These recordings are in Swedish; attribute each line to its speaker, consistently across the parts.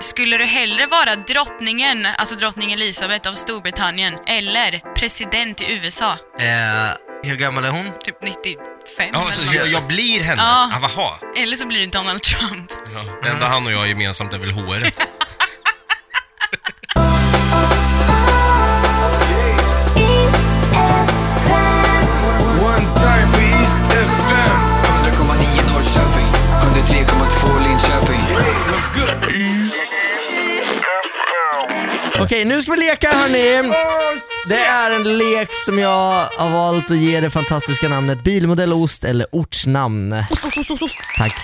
Speaker 1: Skulle du hellre vara drottningen, alltså drottning Elizabeth av Storbritannien, eller president i USA?
Speaker 2: Eh, hur gammal är hon?
Speaker 1: Typ 95
Speaker 3: Ja,
Speaker 1: eller
Speaker 3: så
Speaker 1: något.
Speaker 3: jag, jag blir henne?
Speaker 1: Ja.
Speaker 3: Ah, vaha.
Speaker 1: Eller så blir du Donald Trump.
Speaker 3: Ja, det enda han och jag har gemensamt är väl håret.
Speaker 4: One time for East FM.
Speaker 5: 100,9 Norrköping, 103,2 Linköping.
Speaker 4: What's good?
Speaker 2: Okej, nu ska vi leka hörni. Det är en lek som jag har valt att ge det fantastiska namnet bilmodell ost eller ortsnamn. Tack.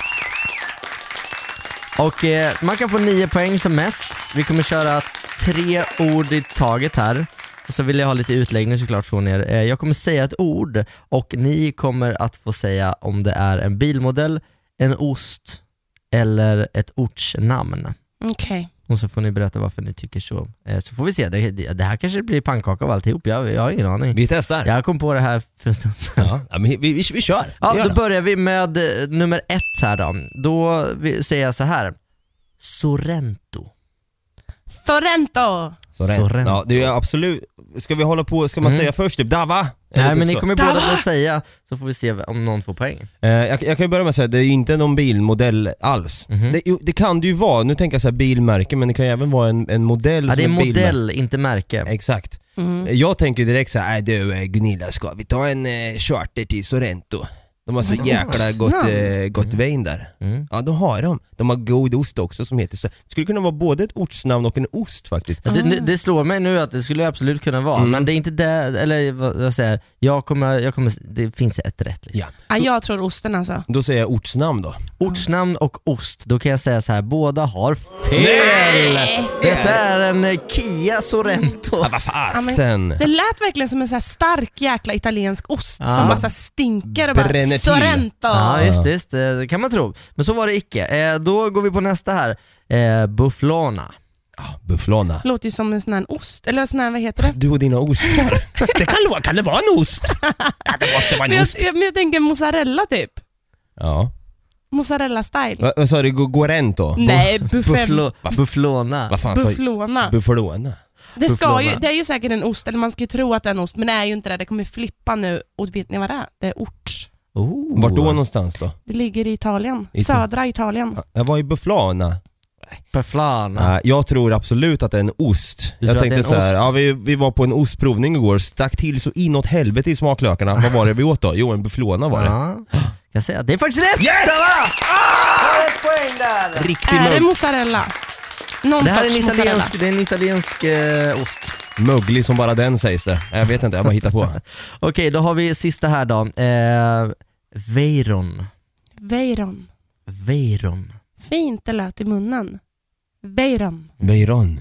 Speaker 2: Och eh, man kan få nio poäng som mest. Vi kommer köra tre ord i taget här. Och så vill jag ha lite utläggning såklart från er. Eh, jag kommer säga ett ord och ni kommer att få säga om det är en bilmodell, en ost eller ett ortsnamn.
Speaker 6: Okej.
Speaker 2: Och så får ni berätta varför ni tycker så. Eh, Så får vi se, det, det det här kanske blir pannkaka av alltihop, jag, jag har ingen aning.
Speaker 7: Vi testar. Ja.
Speaker 2: Jag kom på det här för en stund sedan. Ja,
Speaker 7: men vi, vi, vi kör. Vi gör
Speaker 2: då
Speaker 7: det.
Speaker 2: börjar vi med eh, nummer ett här då. Då vi- säger jag så här. Sorrento.
Speaker 6: Sorrento!
Speaker 7: Sorrento.
Speaker 2: Sorrento.
Speaker 7: Ja, det är absolut. Ska vi hålla på, ska man
Speaker 2: Mm.
Speaker 7: säga först typ Dava? Eller
Speaker 2: Nej
Speaker 7: typ
Speaker 2: men ni
Speaker 7: så?
Speaker 2: kommer båda
Speaker 6: Där
Speaker 2: få säga, så får vi se om någon får poäng.
Speaker 7: Eh, jag, jag kan ju börja med att säga, det är ju inte någon bilmodell alls.
Speaker 2: Mhm.
Speaker 7: Det, jo, det kan det ju vara, nu tänker jag säga bilmärke, men det kan ju även vara en, en modell
Speaker 2: Ja, det är
Speaker 7: som ett bilmärke.
Speaker 2: modell, inte märke.
Speaker 7: Exakt. Eh, Jag tänker direkt så här, "Nej, du eh, Gunilla, ska vi ta en eh, charter till Sorrento? De har så jäkla gott, eh, gott vin där.
Speaker 2: Mm.
Speaker 7: Ja, de har de. De har god ost också som heter så. Det skulle kunna vara både ett ortsnamn och en ost faktiskt.
Speaker 2: Ja, Det, nu- det slår mig nu att det skulle absolut kunna vara,
Speaker 7: Mm.
Speaker 2: men det är inte det, eller vad vad jag säger, jag kommer, jag kommer, det finns ett rätt liksom.
Speaker 7: Ja.
Speaker 6: Ja, jag tror osten alltså.
Speaker 7: Då säger jag ortsnamn då.
Speaker 2: Ortsnamn och ost, då kan jag säga så här, båda har fel! Detta är en eh, Kia Sorento.
Speaker 7: Ja, vad
Speaker 6: men
Speaker 7: fasen!
Speaker 6: Det lät verkligen som en så här stark jäkla italiensk ost
Speaker 2: Ja.
Speaker 6: som bara så här stinker och bara
Speaker 7: Bränner till.
Speaker 6: Sorrento!
Speaker 2: Ja just det, just det, det kan man tro. Men så var det icke. Eh, då går vi på nästa här, eh, Bufflona.
Speaker 7: Bufflona.
Speaker 6: Låter ju som en sån här ost, eller sån här, vad heter det?
Speaker 7: Du och dina ostar. det kan, lo- kan det vara en ost? ja, det måste vara
Speaker 6: Men jag, jag, men jag tänker mozzarella typ.
Speaker 7: Ja.
Speaker 6: Mozzarella style.
Speaker 7: Va- Vad sa du? Go- Gorento?
Speaker 6: Nej, buffel,
Speaker 2: Bufflo, bufflona.
Speaker 7: Vad fan sa jag?
Speaker 6: bufflona.
Speaker 7: Bufflona?
Speaker 6: Det, ska ju,
Speaker 2: bufflona.
Speaker 6: det är ju säkert en ost, eller man ska ju tro att det är en ost, men det är ju inte det. Det kommer flippa nu och vet ni vad det är? Det är ort.
Speaker 2: Oh.
Speaker 7: Vart då någonstans då?
Speaker 6: Det ligger i Italien.
Speaker 7: Ita-
Speaker 6: Södra Italien.
Speaker 7: Jag var i Bufflona.
Speaker 2: Bufflona.
Speaker 7: Nej, jag tror absolut att det är en ost.
Speaker 2: Du
Speaker 7: jag
Speaker 2: tror att
Speaker 7: tänkte
Speaker 2: det är en
Speaker 7: så här,
Speaker 2: ost?
Speaker 7: ja, vi, vi var på en ostprovning igår, stack till så inåt helvete i smaklökarna. Vad var det vi åt då? Jo, en bufflona var det.
Speaker 2: Ja. Jag säger att det är faktiskt rätt!
Speaker 7: Yes! Ah!
Speaker 2: Har ett poäng där!
Speaker 7: Riktig
Speaker 6: Är det
Speaker 7: mög-
Speaker 6: mozzarella? Någon
Speaker 2: Det här är
Speaker 6: sorts
Speaker 2: en
Speaker 6: mozzarella.
Speaker 2: italiensk, det är en italiensk eh, ost.
Speaker 7: möglig som bara den sägs det. Jag vet inte, jag bara hittar på.
Speaker 2: Okej, då har vi sista här då. Eh, Veyron.
Speaker 6: Veyron.
Speaker 2: Veyron.
Speaker 6: Fint det lät i munnen. Veyron.
Speaker 7: Veyron.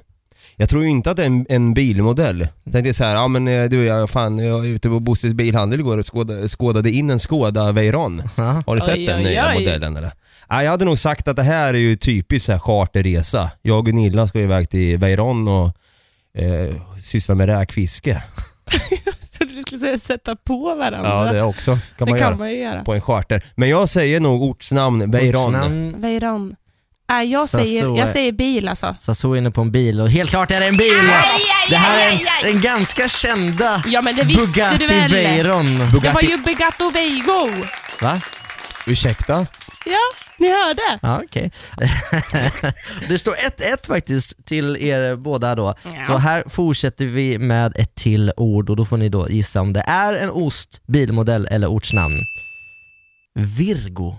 Speaker 7: Jag tror ju inte att det är en, en bilmodell. Jag tänkte så här, ja men eh, du jag, fan, jag var ute på Bosses bilhandel igår och skåda, skådade in en Skoda Veyron.
Speaker 2: Ja.
Speaker 7: Har du sett
Speaker 6: Oj,
Speaker 7: den
Speaker 6: oj,
Speaker 7: nya
Speaker 6: oj.
Speaker 7: modellen eller? Ja, jag hade nog sagt att det här är ju typiskt så här charterresa. Jag och Gunilla ska iväg till Veyron och eh, syssla med räkfiske.
Speaker 6: Jag trodde du skulle säga sätta på varandra.
Speaker 7: Ja det också kan
Speaker 6: Det
Speaker 7: man
Speaker 6: kan
Speaker 7: göra.
Speaker 6: man ju göra.
Speaker 7: På en charter. Men jag säger nog ortsnamn Veyron.
Speaker 2: Ortsnamn.
Speaker 6: Veyron. Äh, jag,
Speaker 2: Så- så
Speaker 6: säger, jag
Speaker 2: är-
Speaker 6: säger bil alltså.
Speaker 2: Sassou är inne på en bil och helt klart är det en bil! Det här är en, en ganska kända
Speaker 6: Ja men det visste
Speaker 2: Bugatti
Speaker 6: du väl?
Speaker 2: Veyron.
Speaker 6: Det var ju Begato Veigo.
Speaker 2: Va?
Speaker 7: Ursäkta?
Speaker 6: Ja, ni hörde.
Speaker 2: Ja, okej. det står 1-1 faktiskt till er båda då. Så här fortsätter vi med ett till ord och då får ni då gissa om det är en ost, bilmodell eller ortsnamn. Virgo.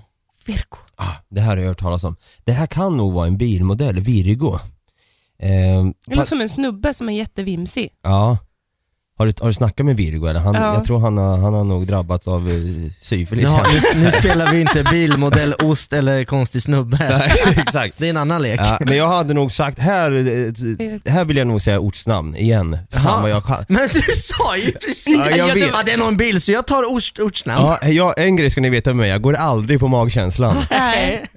Speaker 6: Virgo.
Speaker 7: Ah, det här har jag hört talas om. Det här kan nog vara en bilmodell, Virgo. Ehm,
Speaker 6: Det låter som en snubbe som är jättevimsig.
Speaker 7: Ja. Har du, har du snackat med Virgo eller? Han,
Speaker 6: Ja.
Speaker 7: Jag tror han har, han har nog drabbats av eh, syfilis.
Speaker 2: Ja, nu, nu spelar vi inte bilmodell, ost eller konstig snubbe.
Speaker 7: Exakt.
Speaker 2: Det är en annan lek.
Speaker 7: Ja, men jag hade nog sagt, här, eh, här vill jag nog säga ortsnamn igen.
Speaker 2: Jaha.
Speaker 7: Fan vad jag kan.
Speaker 2: Men du sa ju precis!
Speaker 7: Ja, jag vet.
Speaker 2: det är någon bil så jag tar ort, ortsnamn.
Speaker 7: Ja, jag, en grej ska ni veta med mig, jag går aldrig på magkänslan.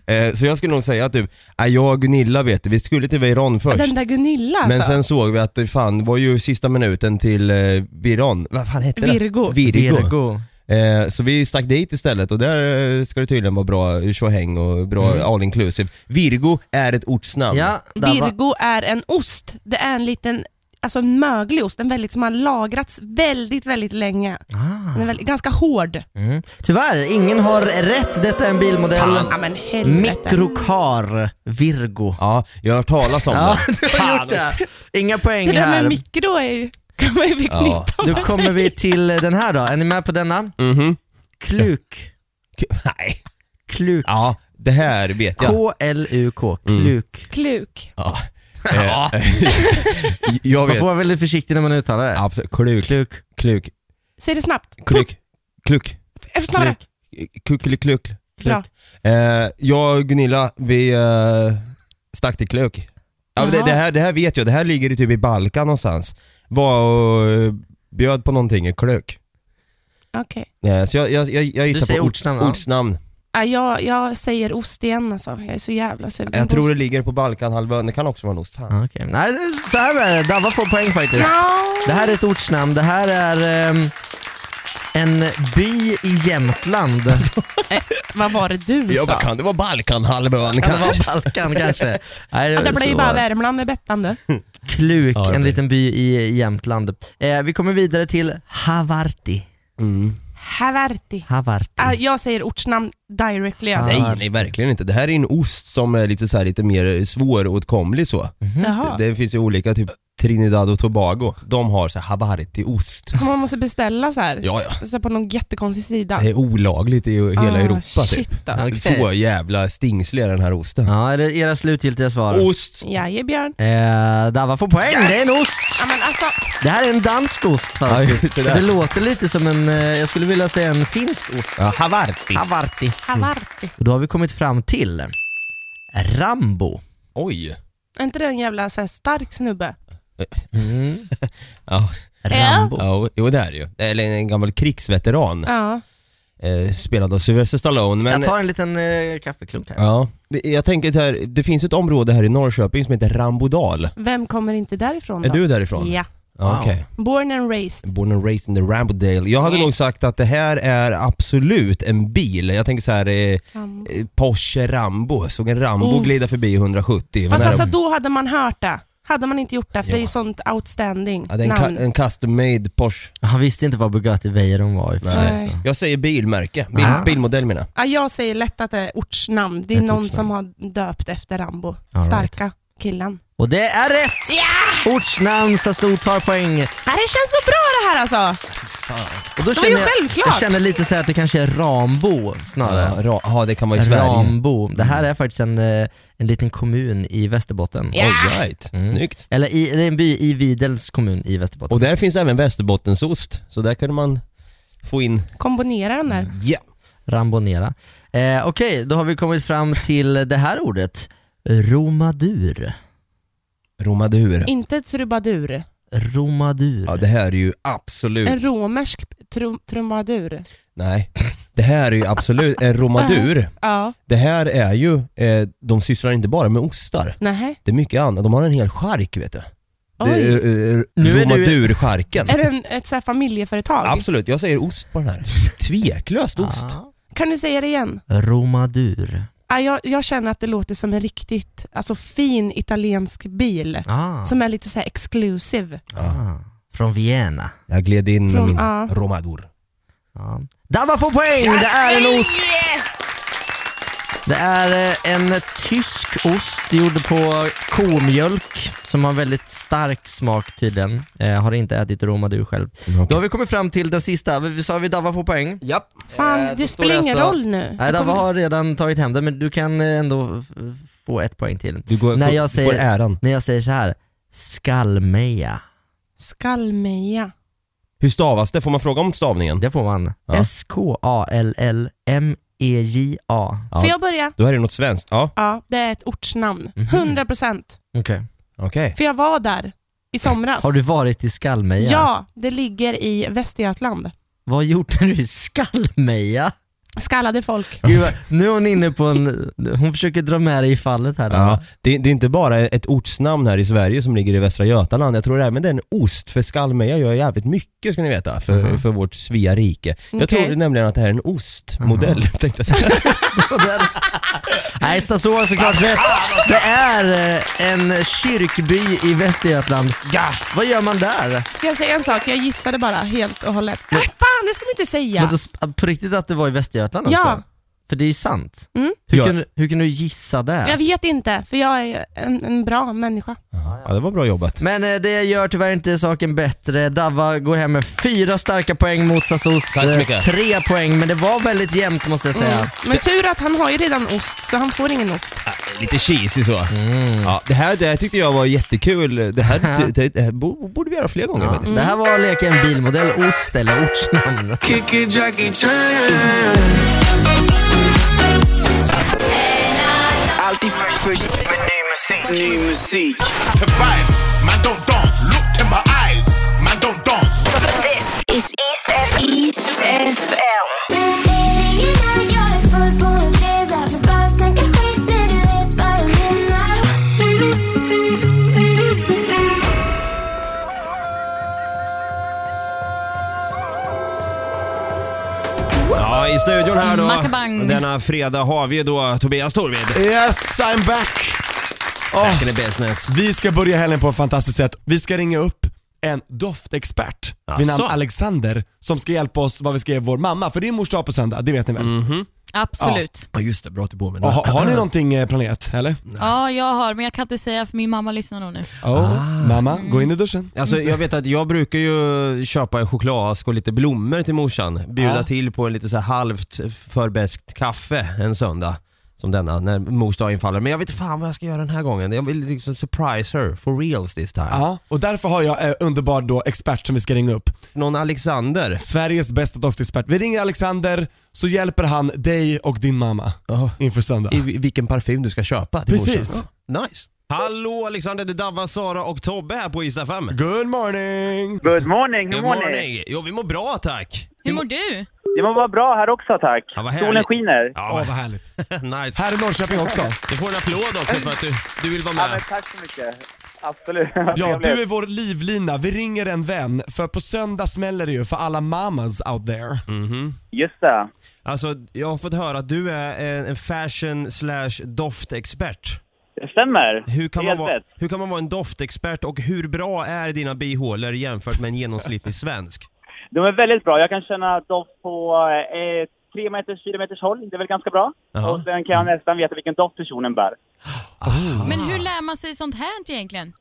Speaker 7: Eh, så jag skulle nog säga typ, ah, jag och Gunilla vet du, vi skulle till Veyron först.
Speaker 6: Den där Gunilla alltså.
Speaker 7: Men sen såg vi att det fan det var ju sista minuten till eh, Viron, vad fan hette
Speaker 6: Virgo.
Speaker 7: det? Virgo.
Speaker 2: Virgo.
Speaker 7: Eh, så vi stack dit istället och där eh, ska det tydligen vara bra tjohäng och bra all inclusive. Virgo är ett ortsnamn.
Speaker 2: Ja, där var,
Speaker 6: Virgo är en ost. Det är en liten, alltså en möglig ost, en väldigt, som har lagrats väldigt, väldigt länge.
Speaker 2: Ah.
Speaker 6: Den är väldigt, ganska hård.
Speaker 2: mm. Tyvärr, ingen har rätt. Detta är en bilmodell.
Speaker 6: Ja men helvete.
Speaker 2: Mikrocar Virgo.
Speaker 7: Ja, jag har hört talas om
Speaker 2: Ja,
Speaker 7: det.
Speaker 2: du har gjort det. Inga poäng
Speaker 6: det där med
Speaker 2: här.
Speaker 6: mikro är ju, kan man ju förknippa
Speaker 2: Då kommer vi till den här då. Är ni med på denna?
Speaker 7: Mhm.
Speaker 2: Kluk.
Speaker 7: K- Nej.
Speaker 2: Kluk.
Speaker 7: Ja, det här vet jag.
Speaker 2: K-L-U-K.
Speaker 7: Mm.
Speaker 2: Kluk.
Speaker 6: kluk.
Speaker 7: Ja. Ja. jag
Speaker 2: Man
Speaker 7: vet.
Speaker 2: får vara väldigt försiktig när man uttalar det.
Speaker 7: Absolut. Kluk.
Speaker 2: Kluk.
Speaker 7: Kluk.
Speaker 6: Säg det snabbt.
Speaker 7: Kluk. Kluk.
Speaker 6: Puh, Snabbare.
Speaker 2: Kluk.
Speaker 7: Kuckelikuck.
Speaker 6: Bra.
Speaker 7: Eh, jag och Gunilla, vi eh, stack till Kluk. Ja, det,
Speaker 6: Jaha.
Speaker 7: det, här, det här vet jag, det här ligger i typ i Balkan någonstans. Var och eh, bjöd på någonting i Kluk.
Speaker 6: Okej.
Speaker 7: Eh, så jag, jag, jag, jag gissar
Speaker 2: säger
Speaker 7: på ort-
Speaker 2: ortsnamn, Mm. va?
Speaker 7: ortsnamn.
Speaker 6: Ja, jag, jag säger ost igen alltså. Jag är så jävla sugen
Speaker 7: Jag
Speaker 6: på
Speaker 7: tror
Speaker 6: ost.
Speaker 7: det ligger på Balkanhalvön, det kan också vara en ost. Fan.
Speaker 2: Ja, okej. Nej, det- så här är det. Dava får poäng faktiskt. Det här är ett ortsnamn. Det här är ehm, en by i Jämtland.
Speaker 6: Eh, Vad var det du
Speaker 7: Ja,
Speaker 6: sa?
Speaker 7: vad kan det vara Balkanhalvön
Speaker 2: Kan det
Speaker 7: kanske?
Speaker 2: vara Balkan kanske? Nej,
Speaker 6: Ja, det
Speaker 2: så
Speaker 6: blir ju
Speaker 2: var
Speaker 6: bara Värmland med Bettan du.
Speaker 2: Kluk,
Speaker 7: Ja, det
Speaker 2: en
Speaker 7: blir.
Speaker 2: liten by i Jämtland. Eh, vi kommer vidare till Havarti.
Speaker 7: Mm.
Speaker 6: Havarti.
Speaker 2: Havarti.
Speaker 6: Ah, jag säger ortsnamn directly alltså.
Speaker 7: Nej, nej verkligen inte. Det här är en ost som är lite, så här, lite mer svåråtkomlig så.
Speaker 6: Jaha.
Speaker 7: Det finns ju olika, typ Trinidad och Tobago. De har så här havarti-ost.
Speaker 6: Så Man måste beställa så här.
Speaker 7: Ja, ja.
Speaker 6: Så på någon jättekonstig sida.
Speaker 7: Det är olagligt i hela
Speaker 6: Ah,
Speaker 7: Europa typ.
Speaker 6: shit då.
Speaker 2: Okej.
Speaker 7: Så jävla stingslig är den här osten.
Speaker 2: Ja, är det era slutgiltiga svar?
Speaker 7: Ost!
Speaker 6: Jajebjörn.
Speaker 2: Eh, Dava får poäng, det är en ost!
Speaker 6: Ja men alltså,
Speaker 2: Det här är en dansk ost
Speaker 7: Ja,
Speaker 2: faktiskt.
Speaker 7: just det där.
Speaker 2: det låter lite som en, eh, jag skulle vilja säga en finsk ost.
Speaker 7: Ja, havarti.
Speaker 2: Havarti.
Speaker 6: Havarti.
Speaker 2: Och då har vi kommit fram till Rambo.
Speaker 7: Oj.
Speaker 6: Är inte det en jävla så här, stark snubbe?
Speaker 2: Mm.
Speaker 7: Ja.
Speaker 2: Rambo.
Speaker 7: Ja, jo det är det ju. Eller en gammal krigsveteran.
Speaker 6: Ja.
Speaker 7: Eh, spelad av Sylvester Stallone. Men,
Speaker 2: Jag tar en liten eh, kaffeklunk här.
Speaker 7: ja, det- jag tänker så här, det finns ett område här i Norrköping som heter Rambodal.
Speaker 6: Vem kommer inte därifrån då?
Speaker 7: Är du därifrån?
Speaker 6: Ja.
Speaker 7: Ja, Okej.
Speaker 6: Born and raised.
Speaker 7: Born and raised in the Rambodale. Jag hade nog sagt att det här är absolut en bil. Jag tänker så här, eh,
Speaker 6: Rambo.
Speaker 7: eh, Porsche Rambo. Såg en Rambo glida förbi i 170.
Speaker 6: Fast
Speaker 7: Men-
Speaker 6: alltså då hade man hört det. Hade man inte gjort det, för det är ju
Speaker 7: Ja.
Speaker 6: sånt outstanding
Speaker 7: Ja, det är en,
Speaker 6: namn.
Speaker 7: ka- en custom made Porsche.
Speaker 2: Han visste inte vad Bugatti Veyron var i och för sig.
Speaker 6: Nej.
Speaker 7: Jag säger bilmärke, Bil,
Speaker 2: Ah.
Speaker 7: bilmodell menar
Speaker 6: Ja, jag säger lätt att det är ortsnamn. Det är
Speaker 2: Ett
Speaker 6: någon
Speaker 2: ortsnamn.
Speaker 6: som har döpt efter Rambo.
Speaker 2: All right.
Speaker 6: Starka killen.
Speaker 2: Och det är rätt! Ortsnamn, Sassou tar poäng.
Speaker 6: Ja, det känns så bra det här alltså!
Speaker 2: Och då
Speaker 6: Det var ju
Speaker 2: jag,
Speaker 6: självklart.
Speaker 2: jag känner lite så här att det kanske är Rambo snarare.
Speaker 7: jag. Ja, ra- ja, det kan vara i Sverige.
Speaker 2: Rambo. Det här är faktiskt en, eh, en liten kommun i Västerbotten.
Speaker 7: All right.
Speaker 2: Mm.
Speaker 7: snyggt.
Speaker 2: Eller i, det är en by i Videls kommun i Västerbotten.
Speaker 7: Och där finns även västerbottensost, så där kunde man få in...
Speaker 6: Kombinera den där.
Speaker 7: Ja!
Speaker 2: Rambonera. Eh, Okej, då har vi kommit fram till det här ordet. Romadur.
Speaker 7: Romadur.
Speaker 6: Inte trubadur.
Speaker 2: Romadur.
Speaker 7: Ja, det här är ju absolut...
Speaker 6: En romersk trum trubadur.
Speaker 7: Nej. Det här är ju absolut en romadur.
Speaker 6: Ja,
Speaker 7: Det här är ju... Eh, de sysslar inte bara med ostar.
Speaker 6: nej.
Speaker 7: Det är mycket annat. De har en hel chark vet du. Det
Speaker 6: Oj.
Speaker 7: är, eh,
Speaker 2: Nu är du-
Speaker 7: romadurcharken.
Speaker 6: Är det en, ett så här familjeföretag?
Speaker 7: Absolut, jag säger ost på den här. Tveklöst ost.
Speaker 2: Ah.
Speaker 6: Kan du säga det igen?
Speaker 2: Romadur.
Speaker 6: Ja, jag, jag känner att det låter som en riktigt alltså, fin italiensk bil.
Speaker 2: Ah.
Speaker 6: Som är lite så här exclusive.
Speaker 2: Ah. Från Vienna.
Speaker 7: Jag gled in med
Speaker 6: Från-
Speaker 7: min
Speaker 6: ja.
Speaker 7: romadur.
Speaker 2: Ja. Dabba får poäng! Det är en ost! Det är eh, en tysk ost gjord på komjölk som har väldigt stark smak tydligen. Eh, har inte ätit romadur själv. Då har vi kommit fram till den sista. Vi vi sa vi Dabba får poäng?
Speaker 7: Japp.
Speaker 6: Fan,
Speaker 2: Eh, då
Speaker 6: det
Speaker 2: står det
Speaker 6: spelar ingen
Speaker 2: alltså-
Speaker 6: roll nu.
Speaker 2: Nej,
Speaker 6: Det
Speaker 2: Dabba
Speaker 6: kommer-
Speaker 2: har redan tagit hem den men du kan eh, ändå f- få ett poäng till.
Speaker 7: Du, går,
Speaker 2: När
Speaker 7: Nej,
Speaker 2: jag
Speaker 7: jag
Speaker 2: säger-
Speaker 7: får äran.
Speaker 2: När jag säger så här, skallmeja.
Speaker 6: Skallmeja.
Speaker 7: Hur stavas det? Får man fråga om stavningen?
Speaker 2: Det får man.
Speaker 7: Ja.
Speaker 2: E S-K-A-L-L-M-E-J-A.
Speaker 7: Ja.
Speaker 6: Får jag börja?
Speaker 7: Då är det något svenskt. Ja,
Speaker 6: Ja, det är ett ortsnamn.
Speaker 2: Mhm.
Speaker 6: 100 procent.
Speaker 2: Okej.
Speaker 7: okej.
Speaker 6: För jag var där i somras.
Speaker 2: Har du varit i Skallmeja?
Speaker 6: Ja, det ligger i Västergötland.
Speaker 2: Vad gjorde du i Skallmeja?
Speaker 6: skallade folk.
Speaker 2: Gud, vad- nu är hon inne på en... Hon försöker dra med dig i fallet här.
Speaker 7: Ja, det, det är inte bara ett ortsnamn här i Sverige som ligger i Västra Götaland. Jag tror även det är en ost, för skallmeja gör jävligt mycket ska ni veta, för, för vårt Svea rike. Jag
Speaker 6: Okej.
Speaker 7: tror nämligen att det här är en ostmodell, tänkte jag säga.
Speaker 2: Nej, Sassuolo har såklart rätt. Det är eh, en kyrkby i Västergötland. Ja. Vad gör man där?
Speaker 6: Ska jag säga en sak? Jag gissade bara helt och hållet. Ah, fan, det ska man inte säga!
Speaker 2: Men då, s- på riktigt att det var i Västergötland
Speaker 6: Ja.
Speaker 2: också? För det är ju sant.
Speaker 6: Mm.
Speaker 2: Hur,
Speaker 7: Ja.
Speaker 2: kunde, hur kunde du gissa det?
Speaker 6: Jag vet inte, för jag är ju en, en bra människa.
Speaker 7: Ja, det var bra jobbat.
Speaker 2: Men eh, det gör tyvärr inte saken bättre. Dava går hem med fyra starka poäng mot Sassos
Speaker 7: Tack så
Speaker 2: eh,
Speaker 7: mycket.
Speaker 2: tre poäng, men det var väldigt jämnt måste jag säga.
Speaker 6: Mm. Men tur att han har ju redan ost, så han får ingen ost.
Speaker 7: Lite cheesy så. Ja, det, här, det här tyckte jag var jättekul. Det här, ty- det, det här bo- borde vi göra fler gånger faktiskt.
Speaker 2: Alltså, Det här var leken bilmodell, ost eller ortsnamn.
Speaker 4: Kick it, Jackie Chan.
Speaker 8: Alltid först, först med ny musik. Ny musik.
Speaker 9: to vibes. Man don't dance. Look to my eyes. Man don't dance.
Speaker 10: This is East F- East FM.
Speaker 7: Ja, i studion här då.
Speaker 1: Smackabang.
Speaker 7: Denna fredag har vi då Tobias Torvid.
Speaker 11: Yes, I'm back! Åh,
Speaker 7: Back in the business.
Speaker 11: vi ska börja helgen på ett fantastiskt sätt. Vi ska ringa upp en doftexpert vid namn
Speaker 7: Asså?
Speaker 11: Alexander som ska hjälpa oss vad vi ska ge vår mamma, för det är mors dag på söndag, det vet ni väl?
Speaker 7: Mhm.
Speaker 1: Absolut.
Speaker 7: Ja, just det. Bra att du påminner.
Speaker 11: Och, ha- har ni någonting eh, planerat, eller?
Speaker 1: Ja. jag har, men jag kan inte säga för min mamma lyssnar nog nu.
Speaker 11: Oh,
Speaker 7: Ah.
Speaker 11: Mamma, gå in i duschen.
Speaker 7: Alltså jag vet att jag brukar ju köpa en chokladask och lite blommor till morsan. Bjuda
Speaker 11: Ja.
Speaker 7: till på en lite så här halvt förbäst kaffe en söndag. Som denna, när mors dag infaller. Men jag vet fan vad jag ska göra den här gången. Jag vill liksom surprise her, for reals this time.
Speaker 11: Ja, och därför har jag eh, underbar då expert som vi ska ringa upp.
Speaker 7: Någon Alexander.
Speaker 11: Sveriges bästa doftexpert. Vi ringer Alexander så hjälper han dig och din mamma
Speaker 7: Oh.
Speaker 11: inför söndag.
Speaker 7: I vi- vilken parfym du ska köpa till
Speaker 11: Precis.
Speaker 7: morsan. Ja, nice. Hallå Alexander, det är Davva, Sara och Tobbe här på Ystad 5.
Speaker 11: Good morning!
Speaker 8: Good morning, hur
Speaker 7: Good
Speaker 8: mår ni?
Speaker 7: morning. Jo vi mår bra tack.
Speaker 1: Hur mår du?
Speaker 8: Det mår bara bra här också tack.
Speaker 7: Ja, vad
Speaker 8: Solen
Speaker 7: härligt.
Speaker 8: skiner.
Speaker 11: Åh
Speaker 7: Ja,
Speaker 11: vad härligt.
Speaker 7: nice.
Speaker 11: Här i Norrköping också.
Speaker 7: Du får en applåd också för att du, du vill vara
Speaker 8: Ja, men
Speaker 7: med.
Speaker 8: tack så mycket. Absolut.
Speaker 11: Ja, du är vår livlina. Vi ringer en vän, för på söndag smäller det ju för alla mamas out there.
Speaker 8: Just det.
Speaker 7: Alltså, jag har fått höra att du är en- en fashion slash doftexpert.
Speaker 8: Det stämmer.
Speaker 7: Hur kan, man
Speaker 8: Helt
Speaker 7: vara,
Speaker 8: rätt.
Speaker 7: hur kan man vara en doftexpert och hur bra är dina bihålor jämfört med en genomsnittlig svensk?
Speaker 8: De är väldigt bra. Jag kan känna doft på eh, tre meters, fyra meters håll. Det är väl ganska bra.
Speaker 7: Jaha.
Speaker 8: Och sen kan jag nästan veta vilken doft personen bär.
Speaker 1: Men hur lär man sig sånt här egentligen?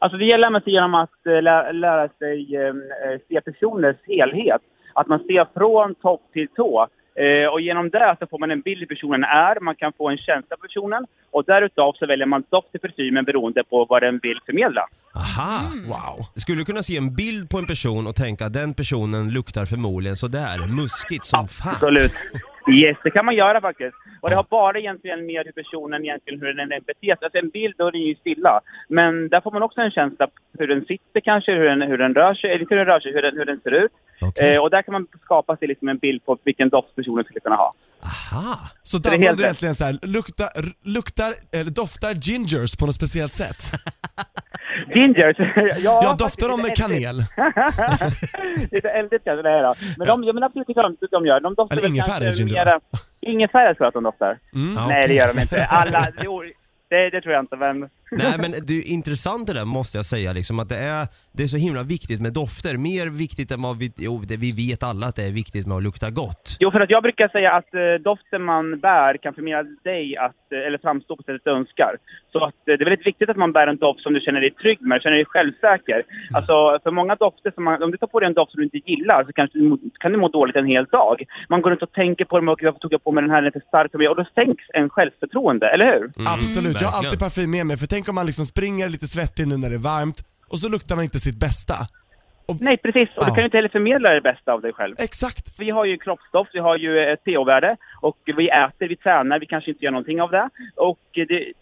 Speaker 8: Alltså det gäller att genom att eh, lä- lära sig eh, eh, se personers helhet. Att man ser från topp till tå. Eh, och genom det så får man en bild hur personen är, man kan få en känsla för personen och därutav så väljer man doft till parfymen beroende på vad den vill förmedla.
Speaker 7: Aha!
Speaker 11: Mm.
Speaker 7: Wow! Skulle du kunna se en bild på en person och tänka att den personen luktar förmodligen sådär, muskigt som fan?
Speaker 8: Absolut. Yes, det kan man göra faktiskt. Och det har bara egentligen med hur personen egentligen, hur den beter sig. Alltså en bild, då är den ju stilla. Men där får man också en känsla på hur den sitter kanske, hur den, hur den rör sig, eller inte hur den rör sig, hur den, hur den ser ut.
Speaker 7: Okej.
Speaker 8: Eh, och där kan man skapa sig liksom en bild på vilken doft personen skulle kunna ha.
Speaker 7: Aha!
Speaker 11: Så
Speaker 8: är
Speaker 11: där
Speaker 8: helt
Speaker 11: var
Speaker 8: rätt.
Speaker 11: du egentligen såhär, luktar, r- luktar, eller doftar gingers på något speciellt sätt?
Speaker 8: Gingers! ja,
Speaker 11: Jag
Speaker 8: faktiskt,
Speaker 11: doftar dem med
Speaker 8: lite eldigt.
Speaker 11: kanel.
Speaker 8: lite eldigt kanske det här då. Men de, ja, men absolut inte de, de gör. De doftar
Speaker 11: Eller
Speaker 8: väl
Speaker 11: ingefära är
Speaker 8: kanske
Speaker 11: ginger,
Speaker 8: mera- Ingefära tror jag att de doftar.
Speaker 11: Mm.
Speaker 7: Ja,
Speaker 8: Nej, det
Speaker 7: okej.
Speaker 8: gör de inte. Alla, jo, det, det tror jag inte, men...
Speaker 7: Nej men det är intressant det där måste jag säga liksom att det är, det är så himla viktigt med dofter. Mer viktigt än vad vi, jo det, vi vet alla att det är viktigt med att lukta gott.
Speaker 8: Jo, för att jag brukar säga att eh, doften man bär kan förmedla dig att, eh, eller framstå på sättet du önskar. Så att, eh, det är väldigt viktigt att man bär en doft som du känner dig trygg med, känner dig självsäker. Alltså, för många dofter, som man, om du tar på dig en doft som du inte gillar så kanske du, må- kan du må dåligt en hel dag. Man går runt och tänker på dem och varför tog jag på mig den här, den är för stark för mig. Och då sänks en självförtroende, eller hur?
Speaker 11: Absolut, jag har
Speaker 7: Mm, verkligen.
Speaker 11: alltid parfym med mig, för tänk om man liksom springer lite svettig nu när det är varmt och så luktar man inte sitt bästa. Och,
Speaker 8: Nej, precis. Och du
Speaker 11: Ja.
Speaker 8: kan ju inte heller förmedla det bästa av dig själv.
Speaker 11: Exakt!
Speaker 8: Vi har ju kroppsdoft, vi har ju ett pH-värde och vi äter, vi tränar, vi kanske inte gör någonting av det. Och det,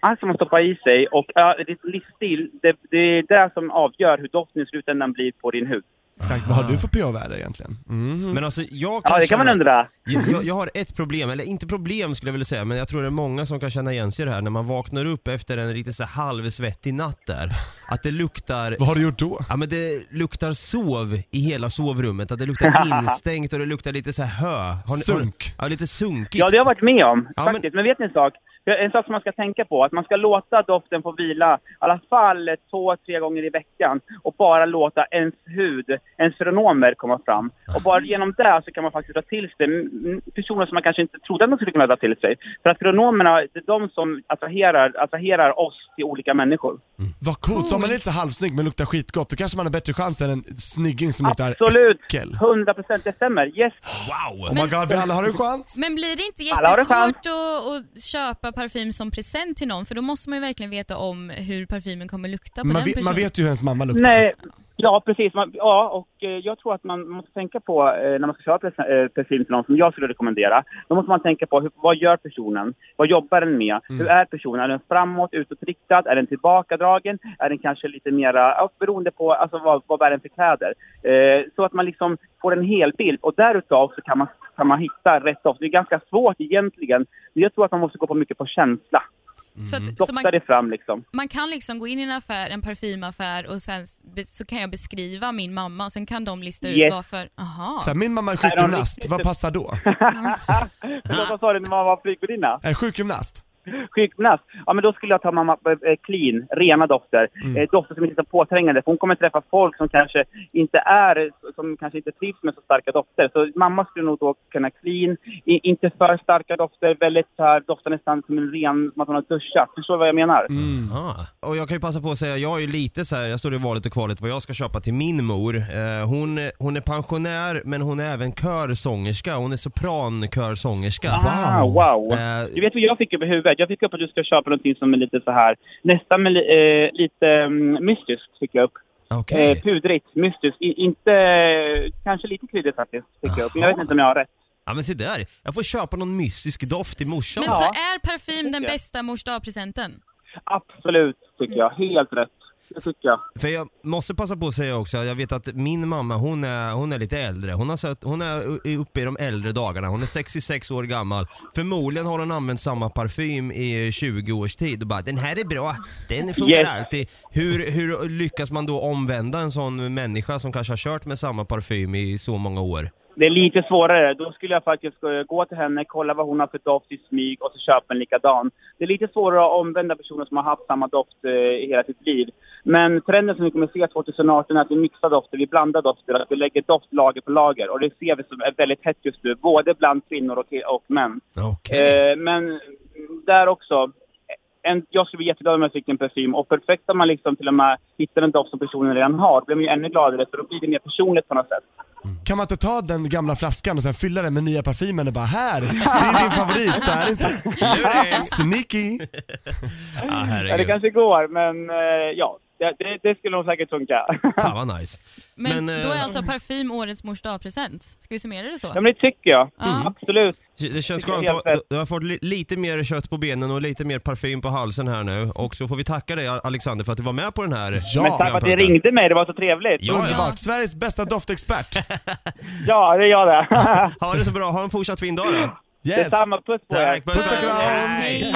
Speaker 8: allt som man stoppar i sig och ja, ditt livsstil, det, det är det som avgör hur doften i slutändan blir på din hud.
Speaker 11: Exakt, vad har du för pH-värde egentligen? Mhm.
Speaker 7: Men alltså jag
Speaker 11: Ja, det kan man undra.
Speaker 7: Jag, jag, jag har ett problem, eller inte problem skulle jag vilja säga, men jag tror det är många som kan känna igen sig i det här när man vaknar upp efter en riktigt så här halvsvettig natt där. Att det luktar...
Speaker 11: Vad har du gjort då?
Speaker 7: Ja men det luktar sov i hela sovrummet, att det luktar instängt och det luktar lite så här hö. Har ni- har ni-
Speaker 11: Sunk.
Speaker 7: Ja, lite sunkigt.
Speaker 8: Ja, det har jag varit med om
Speaker 7: Ja, men-
Speaker 8: faktiskt. Men... vet ni en sak? En sak som man ska tänka på, att man ska låta doften få vila i alla fall två, tre gånger i veckan och bara låta ens hud, ens feromoner komma fram. Och bara genom det så kan man faktiskt dra till sig mm, personer som man kanske inte trodde att man skulle kunna dra till sig. För att feromonerna, det är de som attraherar, attraherar oss till olika människor.
Speaker 11: Vad coolt, så om man är lite så här halvsnygg men luktar skitgott, då kanske man har bättre chans än en snygging som luktar
Speaker 8: Absolut!
Speaker 11: äckel.
Speaker 8: 100 procent, det stämmer. Yes!
Speaker 7: Wow!
Speaker 11: Oh my god, vi alla har en chans.
Speaker 12: Men blir det inte
Speaker 8: Alla har en chans.
Speaker 12: jättesvårt att, att köpa parfym som present till någon? För då måste man ju verkligen veta om hur parfymen kommer lukta på
Speaker 11: Man
Speaker 12: den
Speaker 11: vet,
Speaker 12: personen.
Speaker 11: man vet ju hur ens mamma luktar.
Speaker 8: Nej, ja precis. Man, ja, och eh, jag tror att man måste tänka på eh, när man ska köpa pres- eh, parfym till någon som jag skulle rekommendera. Då måste man tänka på hur, vad gör personen? Vad jobbar den med?
Speaker 12: Mm.
Speaker 8: Hur är personen? Är den framåt, utåtriktad? Är den tillbakadragen? Är den kanske lite mera, ja, beroende på alltså, vad, vad bär den för kläder? Eh, så att man liksom får en helbild och därutav så kan man, kan man hitta rätt doft. Det är ganska svårt egentligen. Men jag tror att man måste gå på mycket på känsla.
Speaker 12: Så att- så
Speaker 8: Doftar
Speaker 12: man-
Speaker 8: det fram liksom.
Speaker 12: Man kan liksom gå in i en affär, en parfymaffär och sen s- be- så kan jag beskriva min mamma och sen kan de lista ut
Speaker 8: Yes.
Speaker 12: varför. Aha.
Speaker 11: Så här, min mamma är
Speaker 8: Nej, de
Speaker 11: sjukgymnast,
Speaker 8: riktigt-
Speaker 11: vad passar då?
Speaker 8: Förlåt, vad sa du? Min mamma var flygvärdinna?
Speaker 11: En sjukgymnast?
Speaker 8: sjukgymnast, ja men då skulle jag ta mamma eh, clean, rena dofter. Eh, dofter som inte är så påträngande. För hon kommer träffa folk som kanske inte är, som kanske inte trivs med så starka dofter. Så mamma skulle nog då kunna clean, i, inte för starka dofter, väldigt så här, doftar nästan som en ren, som att hon har duschat. Förstår du vad jag menar?
Speaker 7: Ah. Och jag kan ju passa på att säga, jag är ju lite så här, jag står i valet och kvalet vad jag ska köpa till min mor. Eh, hon, hon är pensionär men hon är även körsångerska, hon är soprankörssångerska.
Speaker 8: Ah, wow!
Speaker 7: Eh,
Speaker 8: Du vet vad jag fick upp i huvudet? Jag fick upp att du ska köpa någonting som är lite så här, nästan med, li- eh, lite mm, mystiskt fick jag upp.
Speaker 7: Okej.
Speaker 8: Eh, pudrigt, mystiskt. I, inte, kanske lite kryddigt faktiskt, fick jag upp. Men Jag vet inte om jag har rätt.
Speaker 7: Ja men se där, jag får köpa någon mystisk doft till morsan.
Speaker 12: Men så är parfym den
Speaker 8: tycker jag.
Speaker 12: bästa mors presenten
Speaker 8: Absolut, tycker jag. Helt rätt. Det tycker jag.
Speaker 7: För jag måste passa på att säga också, jag vet att min mamma hon är, hon är lite äldre. Hon, har sett, hon är u- uppe i de äldre dagarna, hon är 66 år gammal. Förmodligen har hon använt samma parfym i 20 års tid och bara “den här är bra, den funkar
Speaker 8: Yes.
Speaker 7: alltid”. Hur, hur lyckas man då omvända en sån människa som kanske har kört med samma parfym i så många år?
Speaker 8: Det är lite svårare. Då skulle jag faktiskt eh, gå till henne, kolla vad hon har för doft i smyg och så köpa en likadan. Det är lite svårare att omvända personer som har haft samma doft eh, i hela sitt liv. Men trenden som vi kommer se 2018 är att vi mixar dofter, vi blandar dofter, att vi lägger doftlager på lager. Och det ser vi som är väldigt hett just nu, både bland kvinnor och, och män.
Speaker 7: Okej.
Speaker 8: Eh, men där också. En, jag skulle bli jätteglad om jag fick en parfym. Och perfekt om man liksom till och med hittar en doft som personen redan har. Då blir man ju ännu gladare för då blir det mer personligt på något sätt.
Speaker 11: Kan man inte ta den gamla flaskan och sen fylla den med nya parfymen och bara “här, det är din favorit”, så är det inte. Sneaky!
Speaker 7: Ah,
Speaker 8: Ja, det
Speaker 7: herregud.
Speaker 8: kanske går, men eh, ja. Det, det, det skulle nog säkert funka.
Speaker 7: Fan vad nice.
Speaker 12: Men,
Speaker 7: Men, eh,
Speaker 12: då är alltså parfym årets mors present Ska vi summera det så?
Speaker 8: ja, men det tycker jag. Mm, Absolut.
Speaker 7: Det känns
Speaker 8: Tycker jag
Speaker 7: skönt,
Speaker 8: helt rätt.
Speaker 7: att- du har fått li- lite mer kött på benen och lite mer parfym på halsen här nu. Och så får vi tacka dig Alexander för att du var med på den här.
Speaker 11: Ja.
Speaker 8: Men tack för att ni ringde mig, det var så trevligt.
Speaker 7: Ja, ja.
Speaker 11: Underbart, Sveriges bästa doftexpert.
Speaker 8: Ja, det är jag det.
Speaker 7: Ha det så bra, ha en fortsatt fin dag då.
Speaker 11: Yes.
Speaker 8: Detsamma, puss på er.
Speaker 7: Tack, puss och kram.
Speaker 12: Hej.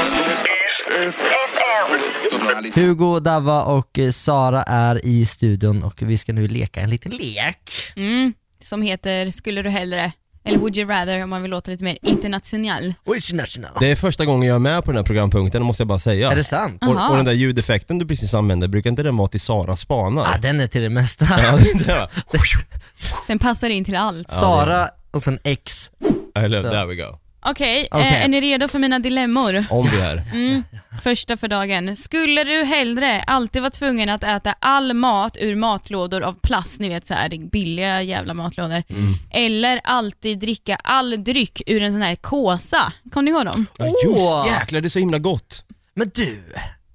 Speaker 2: Hugo, Dava och eh, Sara är i studion och vi ska nu leka en liten lek.
Speaker 12: Mm, som heter Skulle du hellre? Eller Would you rather om man vill låta lite mer internationell.
Speaker 2: International.
Speaker 7: Det är första gången jag är med på den här programpunkten, måste jag bara säga.
Speaker 2: Är det sant?
Speaker 7: Och,
Speaker 12: Aha.
Speaker 7: och den där ljudeffekten du precis använde, brukar inte den vara till Sara spanar?
Speaker 2: Ah, den är till det mesta.
Speaker 7: Ja, det tror jag.
Speaker 12: Den passar in till allt.
Speaker 2: Sara och sen X.
Speaker 7: Eller,
Speaker 2: Så.
Speaker 7: there we go.
Speaker 12: Okej,
Speaker 2: Okej.
Speaker 12: eh, är ni redo för mina dilemmor?
Speaker 7: Om vi är.
Speaker 12: Mm, första för dagen. Skulle du hellre alltid vara tvungen att äta all mat ur matlådor av plast, ni vet så här billiga jävla matlådor,
Speaker 2: Mm.
Speaker 12: eller alltid dricka all dryck ur en sån här kåsa? Kommer ni ihåg dem?
Speaker 7: Ja, just
Speaker 2: Åh!
Speaker 7: jäklar, det är så himla gott.
Speaker 2: Men du!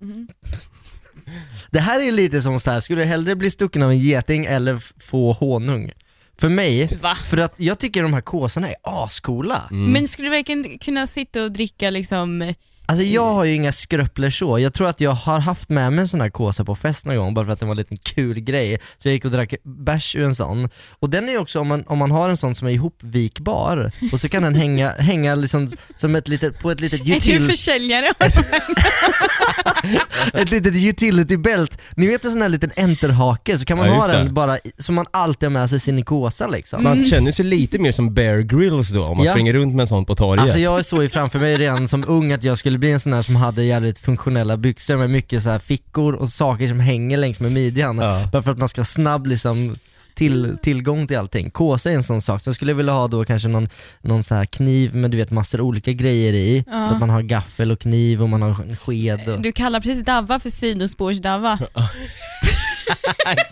Speaker 12: Mm.
Speaker 2: Det här är lite som så här. skulle du hellre bli stucken av en geting eller f- få honung? För mig,
Speaker 12: Va?
Speaker 2: för att jag tycker de här kåsorna är ascoola.
Speaker 12: Mm. Men skulle du verkligen kunna sitta och dricka liksom
Speaker 2: Alltså jag har ju inga skröpler så. Jag tror att jag har haft med mig en sån här kåsa på fest någon gång bara för att det var en liten kul grej. Så jag gick och drack bärs ur en sån. Och den är ju också, om man, om man har en sån som är ihopvikbar och så kan den hänga, hänga liksom som ett litet, på ett litet
Speaker 12: Är du
Speaker 2: util,
Speaker 12: försäljare?
Speaker 2: ett litet utility belt. Ni vet en sån här liten enterhake så kan man
Speaker 7: Ja,
Speaker 2: ha
Speaker 7: just
Speaker 2: den
Speaker 7: det.
Speaker 2: bara i- så man alltid har med sig sin kåsa liksom.
Speaker 7: Man känner sig lite mer som Bear Grylls då om man
Speaker 2: Ja.
Speaker 7: springer runt med en sån på torget.
Speaker 2: Alltså jag såg ju framför mig redan som ung att jag skulle bli en sån här som hade jävligt funktionella byxor med mycket så här fickor och saker som hänger längs med midjan. Bara för att man ska ha snabb liksom, till, tillgång till allting. Kåsa är en sån sak. Sen skulle jag vilja ha då kanske någon, någon så här kniv med du vet massor olika grejer i.
Speaker 12: Ja.
Speaker 2: Så att man har gaffel och kniv och man har en sked. Och...
Speaker 12: Du kallar precis Davva för sidospårs-Davva.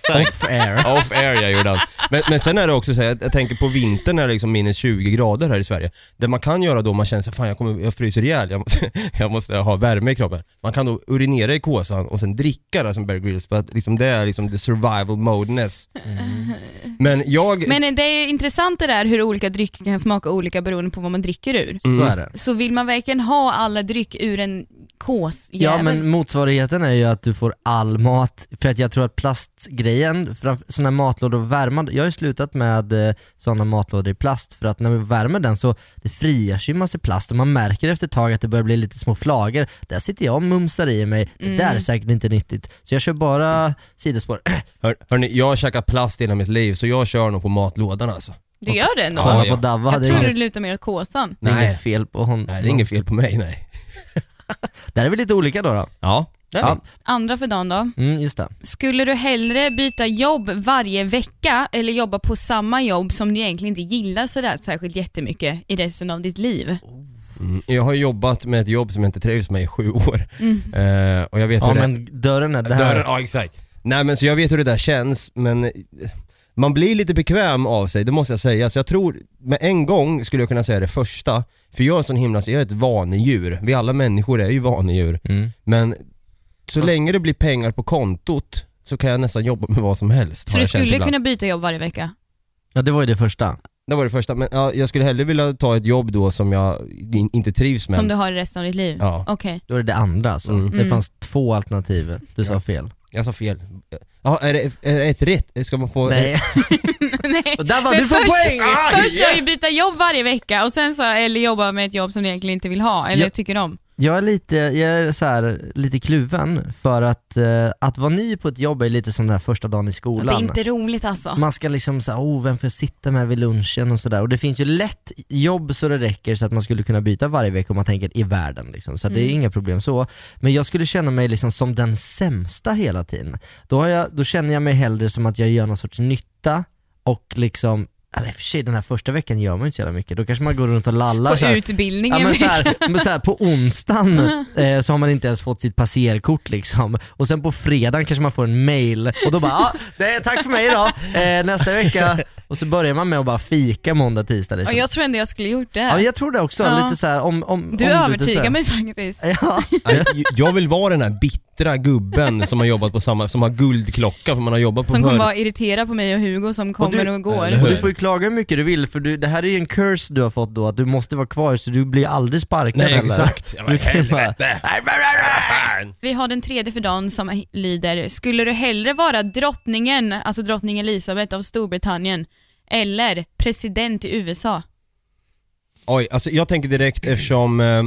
Speaker 7: Off
Speaker 2: air.
Speaker 7: Off air jag gjorde han. men, men sen är det också så här, jag, jag tänker på vintern när det är liksom minus 20 grader här i Sverige. Det man kan göra då, man känner sig fan jag, kommer, jag fryser ihjäl, jag måste, jag måste ha värme i kroppen. Man kan då urinera i kåsan och sen dricka det som Bear Grylls för att liksom det är liksom the survival modeness.
Speaker 2: Mm.
Speaker 7: Men jag...
Speaker 12: Men det är ju intressant det där hur olika drycker kan smaka olika beroende på vad man dricker ur.
Speaker 2: Så är det.
Speaker 12: Så vill man verkligen ha alla dryck ur en kåsjävel?
Speaker 2: Ja men motsvarigheten är ju att du får all mat, för att jag tror att plastgrejen, framför- sådana här matlådor värmande, jag har ju slutat med eh, sådana matlådor i plast för att när vi värmer den så det frigörs ju massa plast och man märker efter ett tag att det börjar bli lite små flagor. Där sitter jag och mumsar i mig, det där är
Speaker 12: Mm.
Speaker 2: säkert inte nyttigt. Så jag kör bara sidospår.
Speaker 7: Hör, hörni, jag har käkat plast i hela mitt liv så jag kör nog på matlådan alltså.
Speaker 12: Du gör det ändå?
Speaker 7: Ja,
Speaker 2: Kolla
Speaker 7: ja.
Speaker 2: på Davva,
Speaker 12: Jag
Speaker 2: det
Speaker 12: tror
Speaker 2: är
Speaker 12: du
Speaker 2: inget,
Speaker 12: lutar mer åt kåsan.
Speaker 2: det är
Speaker 7: Nej.
Speaker 2: inget fel på honom.
Speaker 7: Nej, det är inget fel på mig nej.
Speaker 2: Där är vi lite olika då. då.
Speaker 7: Ja, det är
Speaker 2: ja.
Speaker 12: Andra för dagen då?
Speaker 2: Mm, just det.
Speaker 12: Skulle du hellre byta jobb varje vecka eller jobba på samma jobb som du egentligen inte gillar sådär särskilt jättemycket i resten av ditt liv?
Speaker 7: Mm. Jag har jobbat med ett jobb som jag inte trivs med i sju år.
Speaker 12: Mm.
Speaker 7: Eh, och jag vet
Speaker 2: Ja
Speaker 7: hur det
Speaker 2: men dörren är där.
Speaker 7: Dörren, ja exakt. Nej men så jag vet hur det där känns men eh, man blir lite bekväm av sig, det måste jag säga. Så jag tror, med en gång skulle jag kunna säga det första. För jag är en sån himla, jag är ett vanedjur. Vi alla människor är ju vanedjur.
Speaker 2: Mm.
Speaker 7: Men så länge det blir pengar på kontot så kan jag nästan jobba med vad som helst.
Speaker 12: Så
Speaker 7: har
Speaker 12: du
Speaker 7: jag känt
Speaker 12: skulle
Speaker 7: ibland.
Speaker 12: kunna byta jobb varje vecka?
Speaker 2: Ja det var ju det första.
Speaker 7: Det var det första, men ja, jag skulle hellre vilja ta ett jobb då som jag in, inte trivs med.
Speaker 12: Som du har i resten av ditt liv?
Speaker 7: Ja.
Speaker 12: Okej.
Speaker 2: Då är det det andra alltså.
Speaker 7: Mm.
Speaker 2: Det
Speaker 12: Mm.
Speaker 2: fanns två alternativ, du sa fel.
Speaker 7: Jag sa fel. Ja, är det, är det ett rätt? Ska man få...
Speaker 2: Nej.
Speaker 12: Nej.
Speaker 2: Och där var
Speaker 12: Men
Speaker 2: du får
Speaker 12: först-
Speaker 2: poäng! Ah,
Speaker 12: Först kör vi byta jobb varje vecka och sen så, eller jobba med ett jobb som du egentligen inte vill ha eller
Speaker 2: Ja.
Speaker 12: tycker om.
Speaker 2: Jag är lite, jag är så här, lite kluven för att, eh, att vara ny på ett jobb är lite som den här första dagen i
Speaker 12: Att Det är
Speaker 2: skolan.
Speaker 12: inte roligt alltså.
Speaker 2: Man ska liksom säga, oh vem får jag sitta med vid lunchen och sådär. Och det finns ju lätt jobb så det räcker så att man skulle kunna byta varje vecka om man tänker i världen liksom. Så att det är
Speaker 12: Mm.
Speaker 2: inga problem så. Men jag skulle känna mig liksom som den sämsta hela tiden. Då, har jag, då känner jag mig hellre som att jag gör någon sorts nytta och liksom eller i och för sig den här första veckan gör man ju inte så jävla mycket, då kanske man går runt och lallar så
Speaker 12: På
Speaker 2: här.
Speaker 12: utbildningen.
Speaker 2: Ja, men så här, men så här, på onsdagen eh, så har man inte ens fått sitt passerkort liksom. Och sen på fredagen kanske man får en mail och då bara ah, det är, tack för mig idag, eh, nästa vecka. Och så börjar man med att bara fika måndag, tisdag
Speaker 12: Ja,
Speaker 2: liksom.
Speaker 12: jag tror ändå jag skulle gjort det.
Speaker 2: Ja, jag tror det också,
Speaker 12: Ja.
Speaker 2: lite så här, om, om
Speaker 12: du
Speaker 2: ombyte, så
Speaker 12: övertygar
Speaker 2: här.
Speaker 12: mig faktiskt.
Speaker 2: Ja.
Speaker 7: Nej, Jag vill vara den här bittra gubben som har jobbat på samma, som har guldklocka för man har jobbat på
Speaker 12: Som kommer
Speaker 7: hör-
Speaker 12: vara irriterad på mig och Hugo som kommer och, går.
Speaker 7: Eller hur?
Speaker 2: Och du får ju klaga hur mycket du vill för du, det här är ju en curse du har fått då, att du måste vara kvar så du blir aldrig sparkad
Speaker 7: Nej
Speaker 2: heller.
Speaker 7: exakt.
Speaker 2: Så du kan ju bara,
Speaker 7: Fan.
Speaker 12: Vi har den tredje för dagen som lyder, skulle du hellre vara drottningen, alltså drottning Elizabeth av Storbritannien, eller president i USA?
Speaker 7: Oj, alltså jag tänker direkt eftersom eh,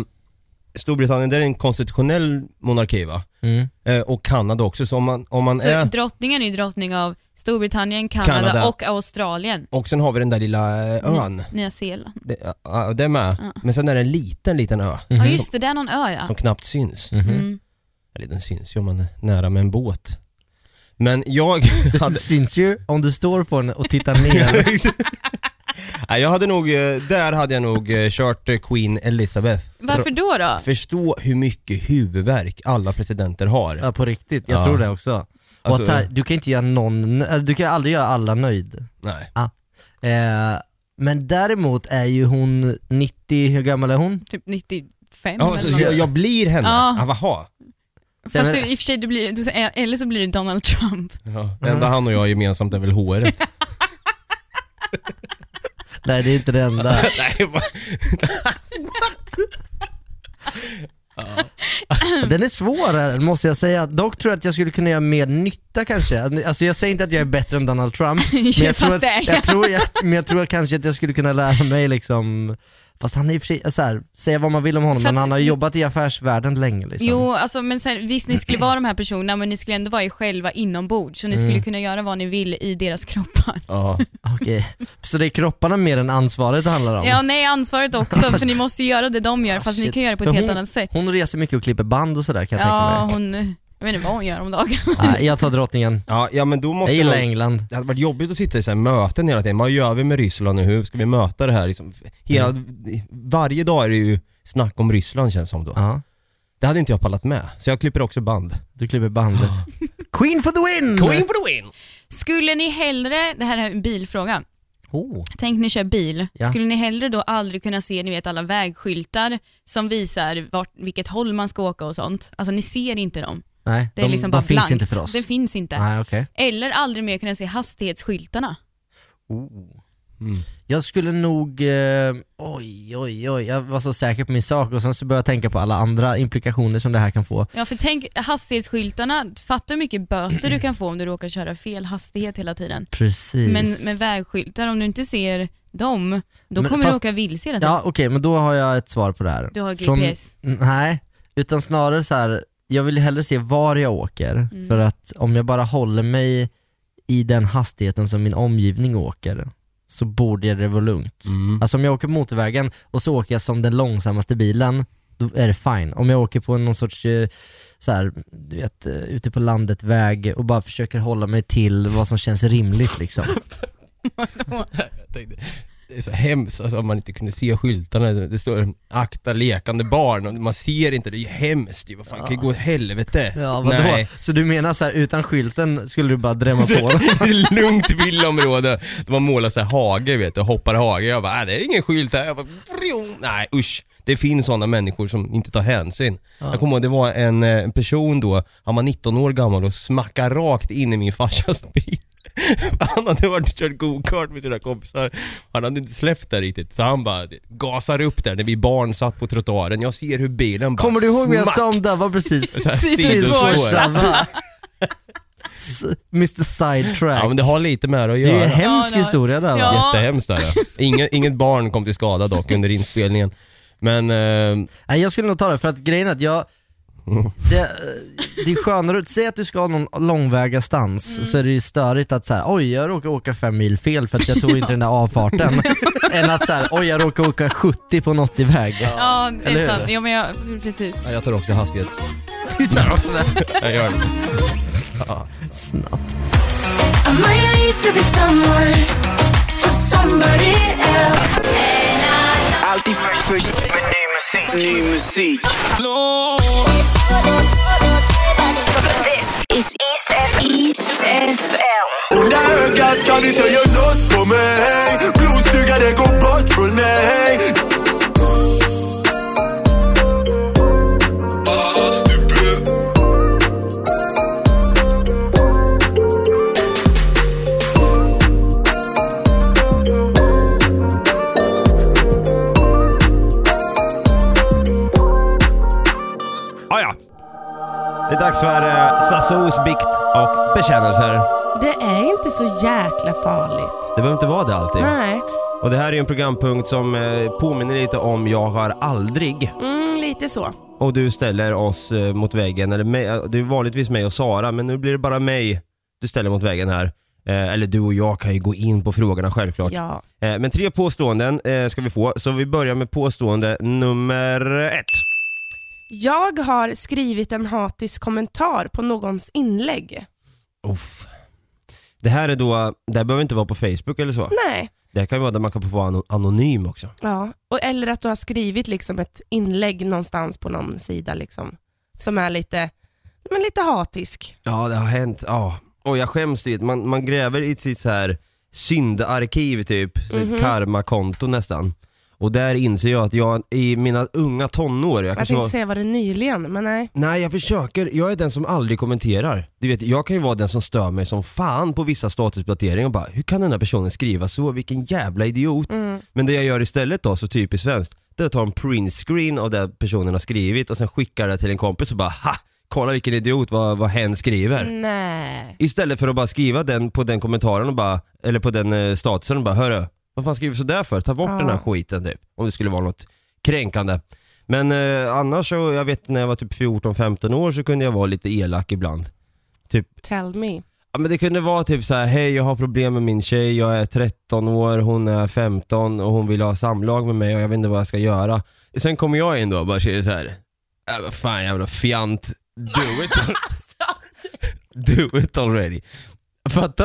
Speaker 7: Storbritannien det är en konstitutionell monarki va?
Speaker 2: mm.
Speaker 7: Eh, och Kanada också, så om man, om man
Speaker 12: Så
Speaker 7: är...
Speaker 12: drottningen är ju drottning av Storbritannien, Kanada,
Speaker 7: Kanada.
Speaker 12: och Australien.
Speaker 7: Och sen har vi den där lilla eh, ön.
Speaker 12: Nya Zeeland.
Speaker 7: Det, ja, det är med. Men sen är det en liten, liten ö.
Speaker 2: Mhm.
Speaker 12: Ja just det, det är någon ö ja.
Speaker 7: Mhm. Som knappt syns.
Speaker 12: Mm.
Speaker 7: Eller den syns ju om man är nära med en båt. Men jag
Speaker 2: Det
Speaker 7: hade...
Speaker 2: syns ju om du står på den och tittar ner.
Speaker 7: Nej, jag hade nog, eh, där hade jag nog eh, kört eh, Queen Elizabeth.
Speaker 12: Varför då då?
Speaker 7: Förstå hur mycket huvudvärk alla presidenter har.
Speaker 2: Ja på riktigt, jag
Speaker 7: Ja.
Speaker 2: tror det också. Och
Speaker 7: Alltså-
Speaker 2: att så här, du kan inte göra någon, nö- äh, du kan aldrig göra alla nöjd. Ah.
Speaker 7: Nej.
Speaker 2: Eh, men däremot är ju hon 90, hur gammal är hon?
Speaker 12: Typ 95
Speaker 7: Ja, så,
Speaker 12: eller
Speaker 7: så alltså, jag,
Speaker 12: något.
Speaker 7: jag blir henne? Ah,
Speaker 12: Ja.
Speaker 7: Ja. Jaha.
Speaker 12: Fast du, i och för sig, du blir, du, eller så blir du Donald Trump.
Speaker 7: Ja. Det enda han och jag gemensamt är väl håret.
Speaker 2: Nej det är inte det enda.
Speaker 7: Nej, vad-
Speaker 2: Den är svårare måste jag säga. Dock tror jag att jag skulle kunna göra mer nytta kanske. Alltså jag säger inte att jag är bättre än Donald Trump, men jag
Speaker 12: Fast
Speaker 2: tror, att,
Speaker 12: det är jag.
Speaker 2: jag tror, jag, men jag tror kanske att jag skulle kunna lära mig liksom Fast han är i och för sig, så här, säga vad man vill om honom,
Speaker 12: För
Speaker 2: men
Speaker 12: att-
Speaker 2: han har jobbat i affärsvärlden länge liksom.
Speaker 12: Jo, alltså, men sen, visst ni skulle vara de här personerna men ni skulle ändå vara er själva inombords så ni
Speaker 2: Mm.
Speaker 12: skulle kunna göra vad ni vill i deras kroppar.
Speaker 2: Ja. Okej, så det är kropparna mer än ansvaret det handlar om?
Speaker 12: Ja, nej ansvaret också för ni måste ju göra det de gör fast Alltså, ni
Speaker 2: Ah, Shit.
Speaker 12: kan göra det på
Speaker 2: För
Speaker 12: ett helt
Speaker 2: hon,
Speaker 12: annat sätt.
Speaker 2: Hon reser mycket och klipper band och sådär kan jag
Speaker 12: Ja,
Speaker 2: tänka mig.
Speaker 12: hon, jag vet inte vad hon gör om dagen.
Speaker 2: Nej, jag tar drottningen.
Speaker 7: Ja, ja, men då måste
Speaker 2: Jag gillar
Speaker 7: man-
Speaker 2: England.
Speaker 7: Det hade varit jobbigt att sitta i så här möten hela tiden. Vad gör vi med Ryssland nu? Hur ska vi möta det här? Liksom, hela,
Speaker 2: Mm.
Speaker 7: Varje dag är det ju snack om Ryssland känns som då. Det hade inte jag pallat med, så jag klipper också band.
Speaker 2: Du klipper band. Queen for the win!
Speaker 7: Queen for the win!
Speaker 12: Skulle ni hellre, det här är en bilfråga,
Speaker 2: Oh.
Speaker 12: tänk ni kör bil,
Speaker 2: Ja.
Speaker 12: skulle ni hellre då aldrig kunna se ni vet, alla vägskyltar som visar vart, vilket håll man ska åka och sånt? Alltså ni ser inte dem.
Speaker 2: Nej,
Speaker 12: Det är
Speaker 2: de,
Speaker 12: liksom
Speaker 2: de
Speaker 12: bara
Speaker 2: finns
Speaker 12: blankt.
Speaker 2: inte för oss.
Speaker 12: Det finns inte.
Speaker 2: Nej, okej.
Speaker 12: Eller aldrig mer kunna se hastighetsskyltarna.
Speaker 2: Oh. Jag skulle nog, eh, oj oj oj, jag var så säker på min sak och sen så började jag tänka på alla andra implikationer som det här kan få.
Speaker 12: Ja för tänk hastighetsskyltarna, fatta hur mycket böter du kan få om du råkar köra fel hastighet hela tiden.
Speaker 2: Precis.
Speaker 12: Men med vägskyltar, om du inte ser dem, då
Speaker 2: Men
Speaker 12: kommer
Speaker 2: fast-
Speaker 12: du åka vilse hela tiden.
Speaker 2: Ja okej, men då har jag ett svar på det här.
Speaker 12: Du har
Speaker 2: Från- Mm,
Speaker 12: GPS.
Speaker 2: nej, utan snarare så här. jag vill hellre se var jag åker,
Speaker 12: Mm.
Speaker 2: för att om jag bara håller mig i den hastigheten som min omgivning åker, så borde det vara lugnt. Alltså om jag åker på motorvägen och så åker jag som den långsammaste bilen, då är det fine. Om jag åker på någon sorts, eh, så här, du vet, eh, ute på landet väg och bara försöker hålla mig till vad som känns rimligt liksom.
Speaker 7: Jag tänkte, det är så hemskt alltså, om man inte kunde se skyltarna. Det står akta lekande barn och man ser inte. Det är ju hemskt ju. Vad fan, kan ju gå åt helvete.
Speaker 2: Ja, vadå?
Speaker 7: Nej.
Speaker 2: Så du menar så här, utan skylten skulle du bara drämma på dem?
Speaker 7: Lugnt villaområde. De har målat så här hage vet du, hoppar hage. Jag bara, "Äh, det är ingen skylt här. Jag bara, "Vrjong." Nej usch. Det finns sådana människor som inte tar hänsyn. Jag kommer ihåg, det var en, eh, en person då, han var 19 år gammal och smackade rakt in i min farsas bil. Han hade varit och kört go-kart med sina kompisar. Han hade inte släppt det riktigt, så han bara gasar upp där när vi barn satt på trottoaren. Jag ser hur bilen bara
Speaker 2: Kommer du ihåg vad jag
Speaker 7: smack.
Speaker 2: sa om Dava precis?
Speaker 7: Så här, sidospår.
Speaker 2: Dava. S- Mr Sidetrack.
Speaker 7: Ja men det har lite med det att
Speaker 2: Det
Speaker 7: göra.
Speaker 2: är en hemsk Ja, det har- historia där, va? Ja.
Speaker 7: Jättehemskt är det. Inget, inget barn kom till skada dock under inspelningen. Men... Eh,
Speaker 2: Nej jag skulle nog ta det, för att grejen är att jag det, eh, det är skönare, att- säg att du ska någon långväga stans så är det ju störigt att såhär, oj jag råkar åka fem mil fel för att jag tog inte den där avfarten. Än att såhär, oj jag råkar åka 70 på en 80-väg.
Speaker 12: Ja, det
Speaker 2: Eller
Speaker 12: är
Speaker 2: hur?
Speaker 12: sant. Ja, men jag, precis.
Speaker 7: ja, jag tar också hastighets...
Speaker 2: Du tar också det?
Speaker 7: Jag gör det. Ja.
Speaker 2: Snabbt.
Speaker 10: I might need to be someone for somebody else.
Speaker 4: Alltid först, först med ny musik. Ny musik.
Speaker 10: It's East FM. East FM.
Speaker 9: Onda ögat kan inte göra nåt på mig Blodsugare går bort från mig
Speaker 7: Ah, ja. Det är dags för eh, Sassos bikt och bekännelser.
Speaker 6: Det är inte så jäkla farligt.
Speaker 7: Det behöver inte vara det alltid.
Speaker 6: Nej.
Speaker 7: Och det här är ju en programpunkt som eh, påminner lite om Jag har aldrig.
Speaker 6: Mm, lite så.
Speaker 7: Och du ställer oss eh, mot väggen, eller mig, eh, det är vanligtvis mig och Sara, men nu blir det bara mig du ställer mot väggen här. Eh, eller du och jag kan ju gå in på frågorna självklart.
Speaker 6: Ja.
Speaker 7: Eh, men tre påståenden eh, ska vi få, så vi börjar med påstående nummer ett.
Speaker 6: Jag har skrivit en hatisk kommentar på någons inlägg.
Speaker 7: Uff. Det här är då, det här behöver inte vara på Facebook eller så.
Speaker 6: Nej.
Speaker 7: Det här kan ju vara där man kan få vara ano- anonym också.
Speaker 6: Ja. Och, eller att du har skrivit liksom ett inlägg någonstans på någon sida liksom, som är lite, men lite hatisk.
Speaker 7: Ja, det har hänt. Ja. Och jag skäms, du vet. Man, man gräver i sitt så här syndarkiv typ,
Speaker 6: Mhm.
Speaker 7: ett karmakonto nästan. Och där inser jag att jag i mina unga tonår, jag
Speaker 6: Jag
Speaker 7: kanske
Speaker 6: tänkte
Speaker 7: var...
Speaker 6: säga vad det nyligen, men nej.
Speaker 7: Nej jag försöker, jag är den som aldrig kommenterar. Du vet, jag kan ju vara den som stör mig som fan på vissa statusuppdateringar och bara, hur kan den här personen skriva så? Vilken jävla idiot.
Speaker 6: Mm.
Speaker 7: Men det jag gör istället då, så typiskt svenskt, det är att ta en printscreen av det personen har skrivit och sen skicka det till en kompis och bara ha! Kolla vilken idiot vad, vad hen skriver.
Speaker 6: Nej.
Speaker 7: Istället för att bara skriva den på den kommentaren och bara, eller på den eh, statusen och bara hörru, vad fan skriver du sådär för? Ta bort
Speaker 6: Ja.
Speaker 7: den här skiten typ. Om det skulle vara något kränkande. Men eh, annars så, jag vet när jag var typ 14-15 år så kunde jag vara lite elak ibland. Typ
Speaker 6: Tell me.
Speaker 7: Ja, men det kunde vara typ så här: hej jag har problem med min tjej, jag är 13 år, hon är 15 och hon vill ha samlag med mig och jag vet inte vad jag ska göra. Sen kommer jag in då och bara säger såhär, äh, vad fan jävla fjant, do it,
Speaker 6: Alltså,
Speaker 7: do it already. Fatta,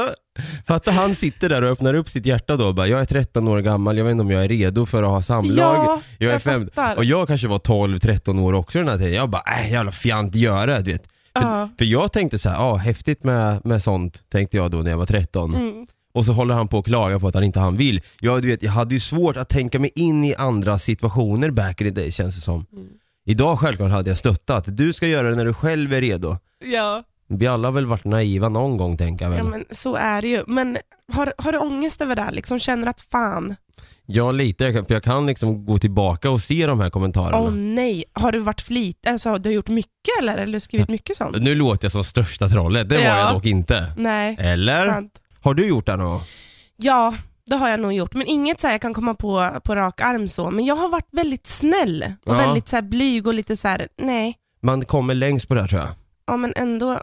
Speaker 7: fatta han sitter där och öppnar upp sitt hjärta då och bara, jag är 13 år gammal, jag vet inte om jag är redo för att ha samlag.
Speaker 6: Ja,
Speaker 7: jag är
Speaker 6: jag
Speaker 7: fem-
Speaker 6: fattar.
Speaker 7: Och jag kanske var 12-13 år också den här tiden. Jag bara, äh, jävla fjant, gör det. Du vet.
Speaker 6: Ja.
Speaker 7: För jag tänkte så här, ah, häftigt med, med sånt, tänkte jag då när jag var 13.
Speaker 6: Mm.
Speaker 7: Och så håller han på att klaga på att han inte han vill. Jag, du vet, jag hade ju svårt att tänka mig in i andra situationer back in the day känns det som.
Speaker 6: Mm.
Speaker 7: Idag självklart hade jag stöttat. Du ska göra det när du själv är redo.
Speaker 6: Ja.
Speaker 7: Vi alla har väl varit naiva någon gång tänker jag väl.
Speaker 6: ja, men så är det ju. Men har, har du ångest över det här? Liksom känner att fan,
Speaker 7: Jag lite, jag kan- för jag kan liksom gå tillbaka och se de här kommentarerna.
Speaker 6: åh nej. Har du varit flit, alltså har du gjort mycket eller? Eller skrivit mycket sånt?
Speaker 7: Nu låter jag som största trollet, det var
Speaker 6: Ja. Mm.
Speaker 7: jag dock inte.
Speaker 6: Nej.
Speaker 7: Eller?
Speaker 6: Sant.
Speaker 7: Har du gjort det någon gång?
Speaker 6: Ja, det har jag nog gjort. Men inget så här jag kan komma på på rak arm så. Men jag har varit väldigt snäll och
Speaker 7: Ja.
Speaker 6: väldigt så här blyg och lite så här, nej.
Speaker 7: Man kommer längst på det här tror jag.
Speaker 6: Ja men ändå.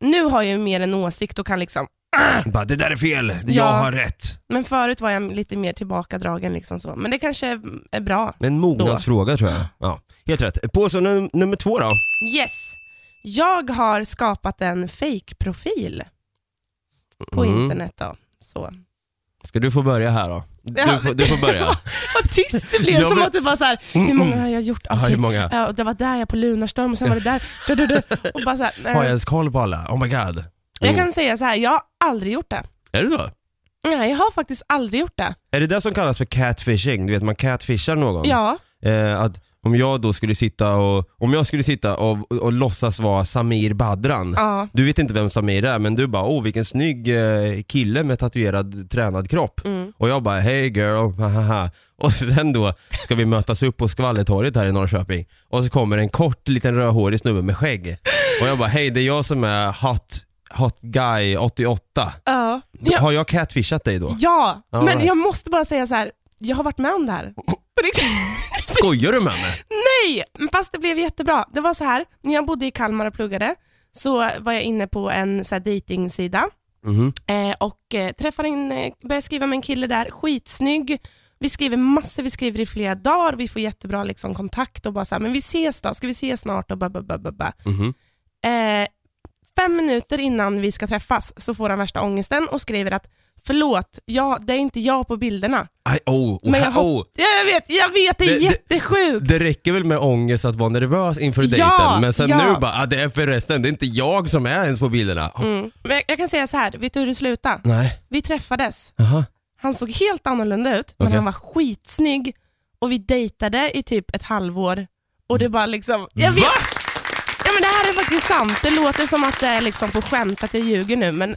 Speaker 6: Nu har jag ju mer en åsikt och kan liksom,
Speaker 7: Bara, det där är fel, jag
Speaker 6: Ja.
Speaker 7: har rätt.
Speaker 6: men förut var jag lite mer tillbakadragen liksom så. Men det kanske är bra.
Speaker 7: En mognadsfråga tror jag. Ja, helt rätt. Påse num- nummer två då.
Speaker 6: Yes! Jag har skapat en fake-profil på
Speaker 7: Mm.
Speaker 6: internet då. Så.
Speaker 7: Ska du få börja här då? Du,
Speaker 6: Ja.
Speaker 7: får- du får börja.
Speaker 6: Vad tyst det blev,
Speaker 7: Jag
Speaker 6: som
Speaker 7: blev-
Speaker 6: att det var så här, hur många har jag gjort?
Speaker 7: Mm. Ja, hur
Speaker 6: Okej.
Speaker 7: många?
Speaker 6: Ja, och det var där jag på Lunarstorm och sen var det där. Du, du, du. Och bara så här, eh,
Speaker 7: Har jag ens koll på alla? Oh my god.
Speaker 6: Jag
Speaker 7: Mm.
Speaker 6: kan säga så här, jag har aldrig gjort det.
Speaker 7: Är det så?
Speaker 6: Nej, jag har faktiskt aldrig gjort det.
Speaker 7: Är det det som kallas för catfishing? Du vet man catfishar någon.
Speaker 6: Ja.
Speaker 7: Eh, att om jag då skulle sitta och, om jag skulle sitta och, och låtsas vara Samir Badran.
Speaker 6: Ja.
Speaker 7: Du vet inte vem Samir är men du bara åh vilken snygg eh, kille med tatuerad tränad kropp.
Speaker 6: Mm.
Speaker 7: Och jag bara hey girl, hahaha. Och sen då ska vi mötas upp på Skvallertorget här i Norrköping. Och så kommer en kort liten rödhårig snubbe med skägg. Och jag bara hej det är jag som är hot, hot guy 88.
Speaker 6: Ja.
Speaker 7: Då-
Speaker 6: Ja.
Speaker 7: Har jag catfishat dig då?
Speaker 6: Ja,
Speaker 7: Ja.
Speaker 6: men jag måste bara säga så här. jag har varit med om det här. På riktigt.
Speaker 7: Skojar du med mig?
Speaker 6: Nej, men fast det blev jättebra. Det var så här, när jag bodde i Kalmar och pluggade så var jag inne på en så här dejtingsida
Speaker 7: Mhm.
Speaker 6: eh, och eh, träffade en, eh, började skriva med en kille där, skitsnygg. Vi skriver massor, vi skriver i flera dagar, vi får jättebra liksom, kontakt och bara så här, men vi ses då, ska vi ses snart och ba, ba, ba, ba, ba.
Speaker 7: Mhm.
Speaker 6: Eh, fem minuter innan vi ska träffas så får han värsta ångesten och skriver att förlåt, jag, det är inte jag på bilderna.
Speaker 7: Aj, oh, oh,
Speaker 6: Men jag,
Speaker 7: oh.
Speaker 6: hop- ja, jag vet, jag vet, det är
Speaker 7: Det- det-
Speaker 6: jättesjukt.
Speaker 7: Det räcker väl med ångest att vara nervös inför
Speaker 6: Ja,
Speaker 7: dejten, men sen
Speaker 6: ja.
Speaker 7: nu bara, ah, det är förresten, det är inte jag som är ens på bilderna. Ah,
Speaker 6: Mm. Men jag- jag kan säga så här, vet du hur det slutade?
Speaker 7: Nej.
Speaker 6: Vi träffades,
Speaker 7: Jaha.
Speaker 6: han såg helt annorlunda ut, men
Speaker 7: Okej.
Speaker 6: han var skitsnygg och vi dejtade i typ ett halvår och det bara liksom... Jag vet, ja, men det här är faktiskt sant, det låter som att det är liksom på skämt att jag ljuger nu, men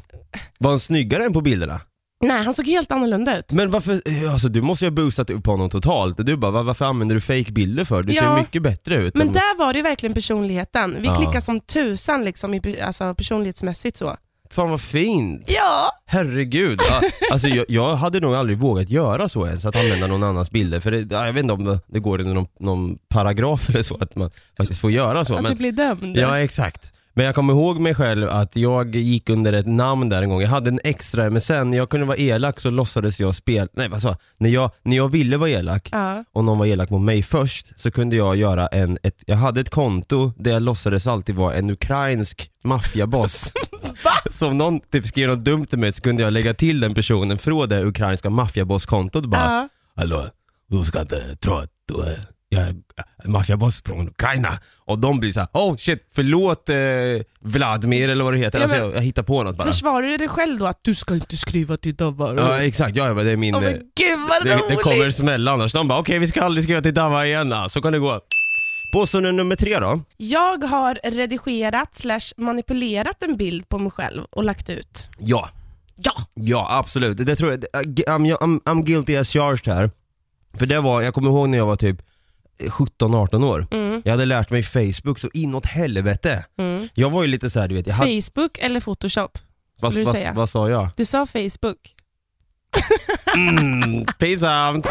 Speaker 7: Var han snyggare än på bilderna?
Speaker 6: nej, han såg helt annorlunda ut.
Speaker 7: Men varför, alltså du måste ju ha boostat upp honom totalt. Du bara, "Va- varför använder du fake bilder för? Du
Speaker 6: Ja.
Speaker 7: ser mycket bättre ut.
Speaker 6: Men
Speaker 7: än-
Speaker 6: där var det ju verkligen personligheten. Vi
Speaker 7: Ja.
Speaker 6: klickade som tusan liksom, i, pe- alltså, personlighetsmässigt så.
Speaker 7: Fan vad fint.
Speaker 6: Ja,
Speaker 7: Herregud. Ah, Alltså jag, jag hade nog aldrig vågat göra så ens, att använda någon annans bilder. För det, ah, jag vet inte om det- det går under någon, någon paragraf eller så, att man faktiskt får göra så.
Speaker 6: att
Speaker 7: men-
Speaker 6: du blir dömd.
Speaker 7: Ja, exakt. Men jag kommer ihåg mig själv att jag gick under ett namn där en gång. Jag hade en extra MSN, jag kunde vara elak så låtsades jag spela, nej vad sa jag? när jag? När jag ville vara elak
Speaker 6: Ja.
Speaker 7: och någon var elak mot mig först så kunde jag göra en, ett, jag hade ett konto där jag låtsades alltid vara en ukrainsk maffiaboss. Så om någon typ skrev något dumt till mig så kunde jag lägga till den personen från det ukrainska maffiabosskontot bara
Speaker 6: Ja.
Speaker 7: Hallå, du ska inte tro att du är jag är maffiaboss från Ukraina. Och de blir såhär, oh shit, förlåt eh, Vladimir eller vad det heter.
Speaker 6: Ja,
Speaker 7: alltså,
Speaker 6: men-
Speaker 7: jag, jag hittar på något bara.
Speaker 6: Försvarar du dig själv då att du ska inte skriva till Davar?
Speaker 7: Ja exakt, ja, ja, men det är min...
Speaker 6: Åh,
Speaker 7: eh,
Speaker 6: Oh men gud vad
Speaker 7: det,
Speaker 6: roligt!
Speaker 7: det kommer smälla annars. De bara, okej vi ska aldrig skriva till Dava igen. ah. Så kan det gå. Påstående nummer tre då.
Speaker 6: Jag har redigerat slash manipulerat en bild på mig själv och lagt ut.
Speaker 7: Ja.
Speaker 6: Ja!
Speaker 7: Ja, absolut. Det tror jag, I'm, I'm, I'm guilty as charged här. För det var, jag kommer ihåg när jag var typ 17-18 år.
Speaker 6: Mm.
Speaker 7: Jag hade lärt mig Facebook så inåt helvete.
Speaker 6: Mm.
Speaker 7: Jag var ju lite så här, du vet, jag hade,
Speaker 6: Facebook eller Photoshop?
Speaker 7: vad,
Speaker 6: skulle du
Speaker 7: vad,
Speaker 6: säga.
Speaker 7: vad sa jag?
Speaker 6: Du sa Facebook.
Speaker 7: Mm, pinsamt.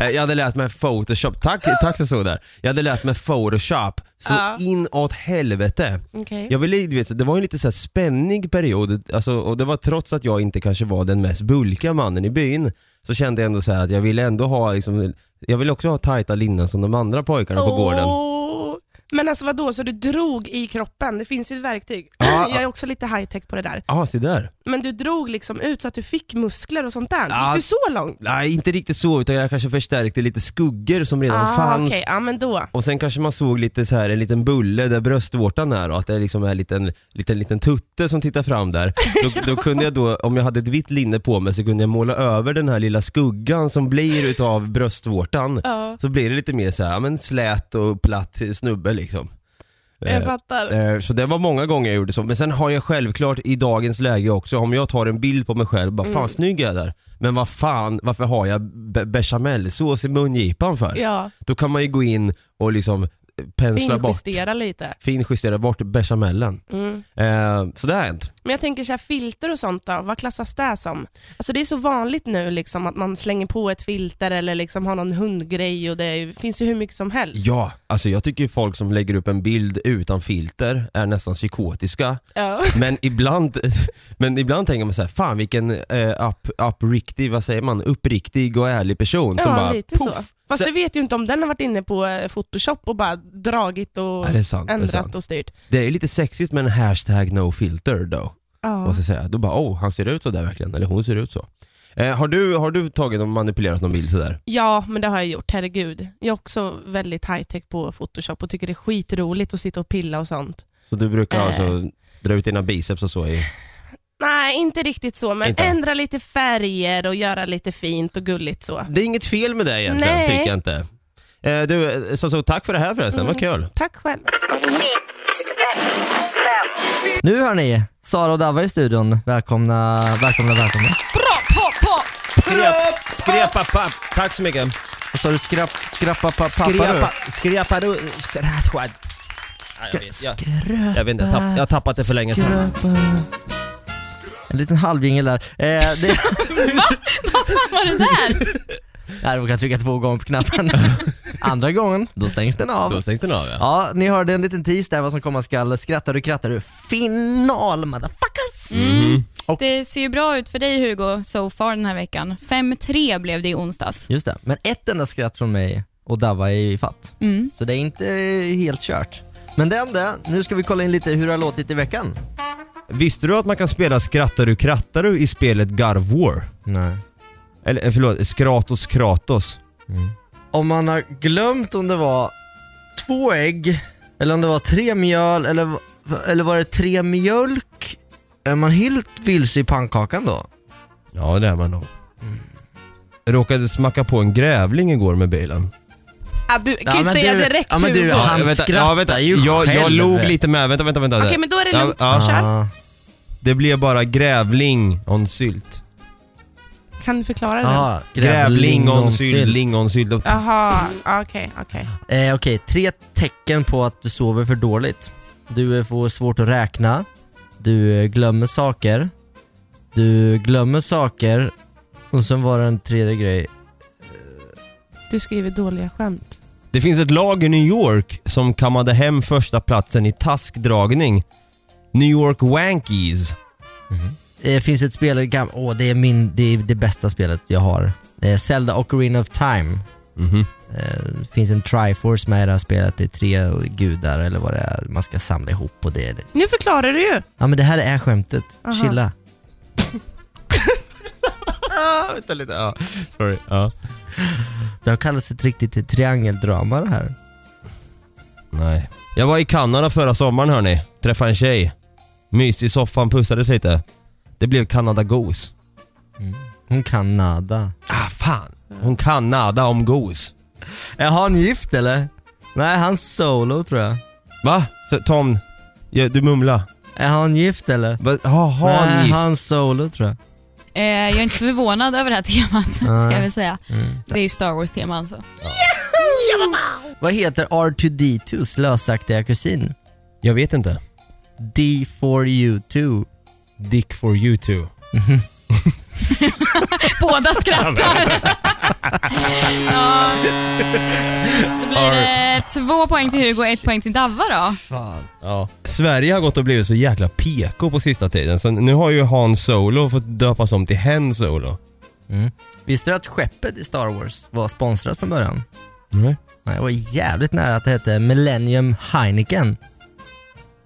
Speaker 7: Eh, Jag hade lärt mig Photoshop, tack, tack som stod där. Jag hade lärt mig Photoshop så
Speaker 6: Ja.
Speaker 7: inåt helvete.
Speaker 6: Okej.
Speaker 7: Jag ville, du vet, det var ju en lite så här spännig period alltså, och det var trots att jag inte kanske var den mest bulkiga mannen i byn så kände jag ändå så här att jag ville ändå ha liksom, jag ville också ha tajta linnen som de andra pojkarna på gården.
Speaker 6: Åh. Men alltså vadå, så du drog i kroppen? Det finns ju ett verktyg.
Speaker 7: Ja.
Speaker 6: Jag är också lite high-tech på det där.
Speaker 7: Ja, ah, se där.
Speaker 6: Men du drog liksom ut så att du fick muskler och sånt där.
Speaker 7: Ja.
Speaker 6: Gick du så långt?
Speaker 7: Nej, inte riktigt så utan jag kanske förstärkte lite skuggor som redan
Speaker 6: Ah,
Speaker 7: fanns. Eh,
Speaker 6: Okej, ja men då.
Speaker 7: Och sen kanske man såg lite så här, en liten bulle där bröstvårtan är och att det liksom är en liten, liten, liten tutte som tittar fram där. Då, då kunde jag då, om jag hade ett vitt linne på mig så kunde jag måla över den här lilla skuggan som blir utav bröstvårtan.
Speaker 6: Ja.
Speaker 7: Så blir det lite mer så här, ja, men slät och platt snubbe liksom.
Speaker 6: Jag
Speaker 7: Eh,
Speaker 6: fattar.
Speaker 7: Eh, Så det var många gånger jag gjorde så. Men sen har jag självklart i dagens läge också, om jag tar en bild på mig själv, bara fan
Speaker 6: Mm.
Speaker 7: snygg jag är där. Men vad fan, varför har jag be- bechamelsås i mungipan för?
Speaker 6: Ja.
Speaker 7: Då kan man ju gå in och liksom pensla bort,
Speaker 6: Finjustera lite.
Speaker 7: finjustera bort bechamelen.
Speaker 6: Mm.
Speaker 7: Eh, så det har hänt.
Speaker 6: Men jag tänker så här, filter och sånt då, vad klassas det som? Alltså det är så vanligt nu liksom att man slänger på ett filter eller liksom har någon hundgrej och det är, ju- finns ju hur mycket som helst.
Speaker 7: Ja, alltså jag tycker ju folk som lägger upp en bild utan filter är nästan psykotiska.
Speaker 6: Ja.
Speaker 7: Men ibland, men ibland tänker man så här, fan vilken eh, upp, uppriktig, vad säger man, uppriktig och ärlig person som
Speaker 6: ja,
Speaker 7: bara
Speaker 6: lite så.
Speaker 7: poff.
Speaker 6: Fast
Speaker 7: Så-
Speaker 6: du vet ju inte om den har varit inne på eh, photoshop och bara dragit och
Speaker 7: Ja, det är sant, det är
Speaker 6: ändrat
Speaker 7: sant.
Speaker 6: och styrt.
Speaker 7: Det är ju lite sexigt med en hashtag no filter då.
Speaker 6: Ja.
Speaker 7: Måste jag säga. Då bara, oh, han ser ut så där verkligen, eller hon ser ut så. Eh, har, du, har du tagit och manipulerat någon bild sådär?
Speaker 6: Ja, men det har jag gjort, herregud. Jag är också väldigt high-tech på photoshop och tycker det är skitroligt att sitta och pilla och sånt.
Speaker 7: Så du brukar
Speaker 6: Eh.
Speaker 7: alltså dra ut dina biceps och så i...
Speaker 6: Nej, inte riktigt så, men
Speaker 7: Inte?
Speaker 6: ändra lite färger och göra lite fint och gulligt så.
Speaker 7: Det är inget fel med det egentligen,
Speaker 6: Nej.
Speaker 7: tycker jag inte. Eh, du, eh, så, så, tack för det här förresten, vad kul.
Speaker 6: Tack själv.
Speaker 2: Nu hör ni, Sara och Dava i studion. Välkomna, välkomna, välkomna.
Speaker 12: Bra, pop, pop.
Speaker 7: Skrep, skrepa, papp. Tack så mycket.
Speaker 2: Vad sa du? Skrap, skrappa, pappa,
Speaker 7: Skrepa, skrepa du, skratschad. Nej, Jag vet, jag, jag vet inte, jag, tapp, jag har tappat det för länge sedan.
Speaker 2: En liten halvjingel där. Eh, det...
Speaker 12: Vad fan var det där?
Speaker 2: Jag råkade trycka två gånger på knappen. Andra gången, då stängs den av.
Speaker 7: Då stängs den av ja.
Speaker 2: Ja, ni hörde en liten tease där vad som komma skall. Skrattar du, krattar du. Final motherfuckers!
Speaker 12: Det ser ju bra ut för dig Hugo so far den här veckan. 5-3 blev det i onsdags.
Speaker 2: Just det, men ett enda skratt från mig och Davva är i fatt.
Speaker 12: Mm.
Speaker 2: Så det är inte helt kört. Men det om det, nu ska vi kolla in lite hur det har låtit i veckan.
Speaker 7: Visste du att man kan spela Skrattar du krattar du i spelet God War?
Speaker 2: Nej.
Speaker 7: Eller eh, förlåt, Skratos Kratos.
Speaker 2: Om man har glömt om det var två ägg, eller om det var tre mjöl, eller, eller var det tre mjölk? Är man helt vilse i pannkakan då?
Speaker 7: Ja det är man nog. Mm. Råkade smacka på en grävling igår med bilen.
Speaker 6: Ah, du kan ju
Speaker 2: men
Speaker 6: säga
Speaker 2: du-
Speaker 6: direkt
Speaker 2: ja, men du,
Speaker 6: Hugo.
Speaker 2: han- skrattar ju
Speaker 7: jag, jag
Speaker 2: själv.
Speaker 7: låg lite med, vänta vänta vänta.
Speaker 6: Okej, men då är det lugnt.
Speaker 2: Ah,
Speaker 7: Ja, ja.
Speaker 6: Kör.
Speaker 7: Det blev bara grävling on sylt.
Speaker 6: Kan du förklara den?
Speaker 2: Ja,
Speaker 7: Grävling on sylt, lingonsylt och...
Speaker 6: Jaha, ah, okej. okej.
Speaker 2: Eh, Okej, tre tecken på att du sover för dåligt. Du eh, får svårt att räkna, du eh, glömmer saker, du glömmer saker och sen var det en tredje grej.
Speaker 6: Du skriver dåliga skämt.
Speaker 7: Det finns ett lag i New York som kammade hem första platsen i taskdragning. New York Wankies.
Speaker 2: Det Eh, finns ett spel, gam- åh det är, min, det är det bästa spelet jag har. Eh, Zelda Ocarina of Time.
Speaker 7: Mhm.
Speaker 2: Eh, finns en Triforce med i det här spelet, det är tre gudar eller vad det är man ska samla ihop och det är det.
Speaker 6: Nu förklarar du ju!
Speaker 2: Ja men det här är skämtet,
Speaker 6: Aha.
Speaker 2: chilla.
Speaker 7: Ah, vänta lite, ja. Sorry. Ja.
Speaker 2: Det har kallats ett riktigt triangeldrama det här.
Speaker 7: Nej. Jag var i Kanada förra sommaren hörni. Träffade en tjej. Mys i soffan, pussades lite. Det blev Kanada Goose.
Speaker 2: Hon kan nada.
Speaker 7: Ah fan. Hon kan nada om Goose.
Speaker 2: Är han gift eller? Nej, han solo tror jag.
Speaker 7: Va? Så, Tom, ja, du mumla.
Speaker 2: Är han gift eller?
Speaker 7: Va? Jaha,
Speaker 2: Nej,
Speaker 7: ni...
Speaker 2: han solo tror jag.
Speaker 12: Eh, jag är inte förvånad över det här temat ska jag väl säga.
Speaker 2: Mm.
Speaker 12: Det är ju Star Wars-tema alltså.
Speaker 2: Vad heter R2D2s lösaktiga kusin?
Speaker 7: Jag vet inte.
Speaker 2: D4U2.
Speaker 7: Dick for you too.
Speaker 12: Båda skrattar. ja. Då blir det två poäng till Hugo och ett poäng till Davva då.
Speaker 2: Fan.
Speaker 7: Ja. Sverige har gått och blivit så jäkla PK på sista tiden, så nu har ju Han Solo fått döpas om till Hen Solo.
Speaker 2: Visste du att skeppet i Star Wars var sponsrat från början?
Speaker 7: Nej.
Speaker 2: Nej, jag var jävligt nära att det hette Millennium Heineken.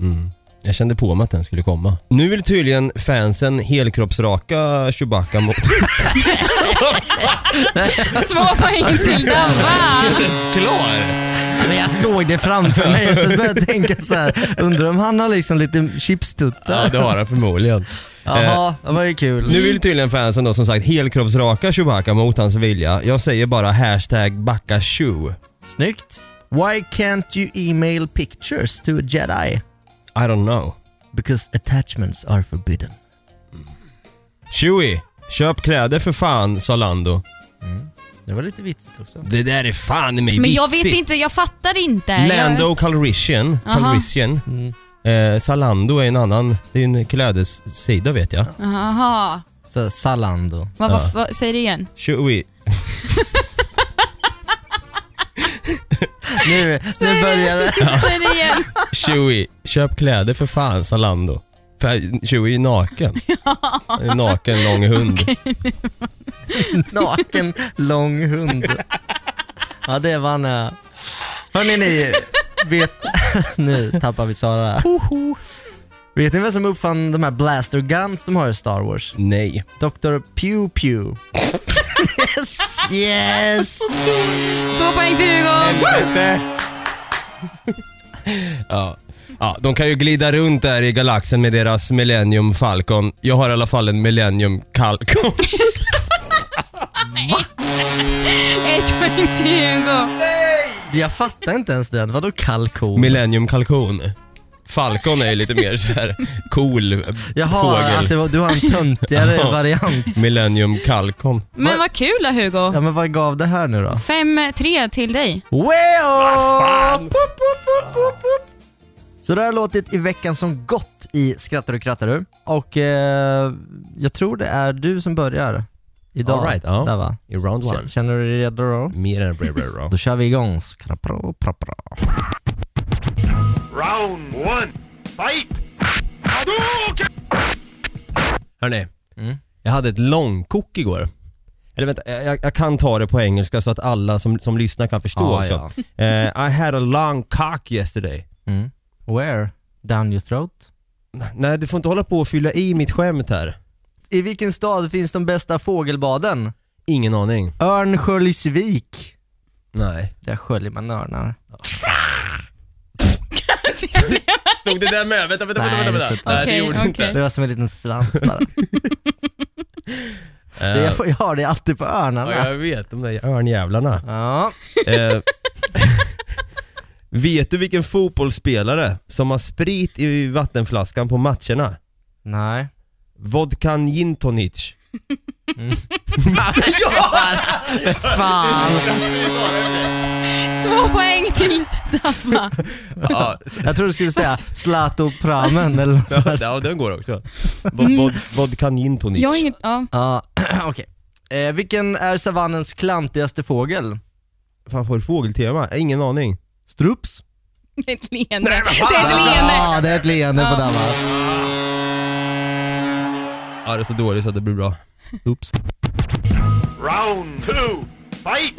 Speaker 7: Mm. Jag kände på mig att den skulle komma. Nu vill tydligen fansen helkroppsraka Chewbacca mot...
Speaker 12: Två poäng till Davva.
Speaker 7: Klar!
Speaker 2: Men jag såg det framför mig så började jag tänka så här. undrar om han har liksom lite chipstuttar?
Speaker 7: Ja, det har han förmodligen.
Speaker 2: Jaha, det var ju kul.
Speaker 7: Eh. Nu vill tydligen fansen då som sagt helkroppsraka Chewbacca mot hans vilja. Jag säger bara hashtag backa Chew.
Speaker 2: Snyggt. Why can't you email pictures to a jedi?
Speaker 7: I don't know.
Speaker 2: Because attachments are forbidden.
Speaker 7: Chewie, köp kläder för fan, sa Lando.
Speaker 2: Det var lite vitsigt också.
Speaker 7: Det där är fan i mig
Speaker 12: Men jag
Speaker 7: vitsigt.
Speaker 12: vet inte, jag fattar inte. Jag...
Speaker 7: Lando Calrissian,
Speaker 12: Eh, Aha.
Speaker 7: Calrissian.
Speaker 2: Mm.
Speaker 7: Eh, Zalando är en annan, det är en klädessida vet jag.
Speaker 12: Jaha.
Speaker 2: Så Zalando.
Speaker 12: Vad,
Speaker 7: Ja.
Speaker 12: vad, vad, säg det igen.
Speaker 7: Chewie.
Speaker 2: Nu, nu börjar det.
Speaker 12: Säg det igen.
Speaker 7: Chewie, köp kläder för fan Zalando. För Chewie är naken. En naken lång hund.
Speaker 2: Naken lång hund. Ja, det var när... Hörni ni, vet... nu tappar vi Sara. Vet ni vem som uppfann de här blaster guns de har i Star Wars?
Speaker 7: Nej.
Speaker 2: Dr. Pew Pew. yes! Yes!
Speaker 12: Två poäng till Hugo.
Speaker 7: Ja. Ja, de kan ju glida runt där i galaxen med deras Millennium Falcon. Jag har i alla fall en Millennium Calcon.
Speaker 12: Ett poäng till Hugo.
Speaker 2: Jag fattar inte ens den. Vadå kall ko?
Speaker 7: Millennium Kalkon. Falcon är ju lite mer så här cool
Speaker 2: Jaha, att
Speaker 7: fågel.
Speaker 2: det var, du har en töntigare
Speaker 7: Ja.
Speaker 2: variant.
Speaker 7: Millennium Kalkon.
Speaker 12: Men vad kul då Hugo.
Speaker 2: Ja, men vad gav det här nu då?
Speaker 12: Fem, tre till dig.
Speaker 2: Wow! Så det har låtit i veckan som gått i Skrattar du krattar du. Och eh, jag tror det är du som börjar idag.
Speaker 7: All right, ja.
Speaker 2: Där, va?
Speaker 7: I round
Speaker 2: K- Känner du dig redo då?
Speaker 7: Mer än bra, bra, bra.
Speaker 2: Då kör vi igång. Skrappra, prappra.
Speaker 9: Round one, fight!
Speaker 7: Hörni,
Speaker 2: Mm.
Speaker 7: jag hade ett långkok igår. Eller vänta, jag, jag- jag kan ta det på engelska så att alla som, som lyssnar kan förstå
Speaker 2: Ah,
Speaker 7: också. Eh, I had a long cock yesterday.
Speaker 2: Mm. Where? Down your throat?
Speaker 7: Nej, du får inte hålla på och fylla i mitt skämt här.
Speaker 2: I vilken stad finns de bästa fågelbaden?
Speaker 7: Ingen aning.
Speaker 2: Örnsköldsvik.
Speaker 7: Nej.
Speaker 2: Där sköljer man örnar.
Speaker 7: Stod det där med? Vänta, vänta,
Speaker 2: Nej,
Speaker 7: vänta.
Speaker 2: det
Speaker 7: vänta.
Speaker 2: är så-
Speaker 7: Nej, det gjorde det
Speaker 12: okej.
Speaker 7: inte.
Speaker 2: Det var som en liten svans bara.
Speaker 7: Eh,
Speaker 2: jag, får, jag har det alltid på
Speaker 7: ja,
Speaker 2: örnarna.
Speaker 7: jag vet, de där örnjävlarna.
Speaker 2: Ja.
Speaker 7: Eh, vet du vilken fotbollsspelare som har sprit i vattenflaskan på matcherna?
Speaker 2: Nej.
Speaker 7: Vodkan Jintonic.
Speaker 2: Fan.
Speaker 12: Två poäng till Davva.
Speaker 7: Ja,
Speaker 2: Jag trodde du skulle säga Zlato Pramen eller något sånt.
Speaker 7: ja, ja, den går också. Mm. Vod, vod, vodkan Jintonic.
Speaker 12: Jag har inget... Ja.
Speaker 2: Ja, okej. Eh, vilken är savannens klantigaste fågel?
Speaker 7: Fan, får du fågeltema? Jag har Ingen aning.
Speaker 2: Strups?
Speaker 12: Det är ett leende. Det är ett leende.
Speaker 2: Ja, det är ett leende på den va?
Speaker 7: Ja, det är så dåligt så att det blir bra.
Speaker 2: Oops.
Speaker 9: Round two, fight!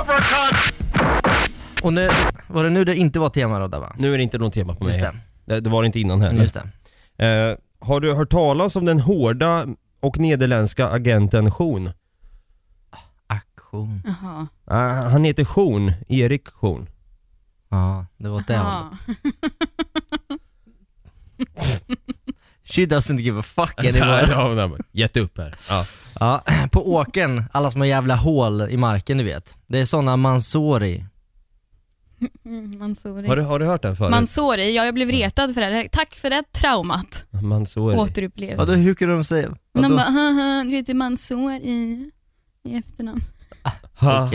Speaker 9: Uppercut!
Speaker 2: Och nu, var det nu det inte var tema då Dabba?
Speaker 7: Nu är det inte något tema på mig.
Speaker 2: Just det.
Speaker 7: Det, det var det inte innan heller.
Speaker 2: Just det.
Speaker 7: Eh, har du hört talas om den hårda och nederländska agenten Schoon?
Speaker 2: Aktion.
Speaker 12: Jaha.
Speaker 7: Ah, han heter Schoon, Erik Schoon.
Speaker 2: Ja, det var åt det hållet.
Speaker 12: Jaha.
Speaker 2: She doesn't give a fuck
Speaker 7: Ja,
Speaker 2: anymore.
Speaker 7: ja, ja, Gett upp här. Ja.
Speaker 2: Ja, på åken, alla små jävla hål i marken du vet. Det är såna mansori.
Speaker 12: Mm, Mansouri.
Speaker 7: Har, du, har du hört den förut?
Speaker 12: Mansouri, ja jag blev
Speaker 2: Mm.
Speaker 12: retad för det här. Tack för det traumat.
Speaker 7: Mansouri.
Speaker 12: Återupplevt.
Speaker 2: Vadå, hur kunde de säga?
Speaker 12: De
Speaker 2: Vadå?
Speaker 12: bara, "Haha, du heter Mansouri i efternamn.
Speaker 7: Haha.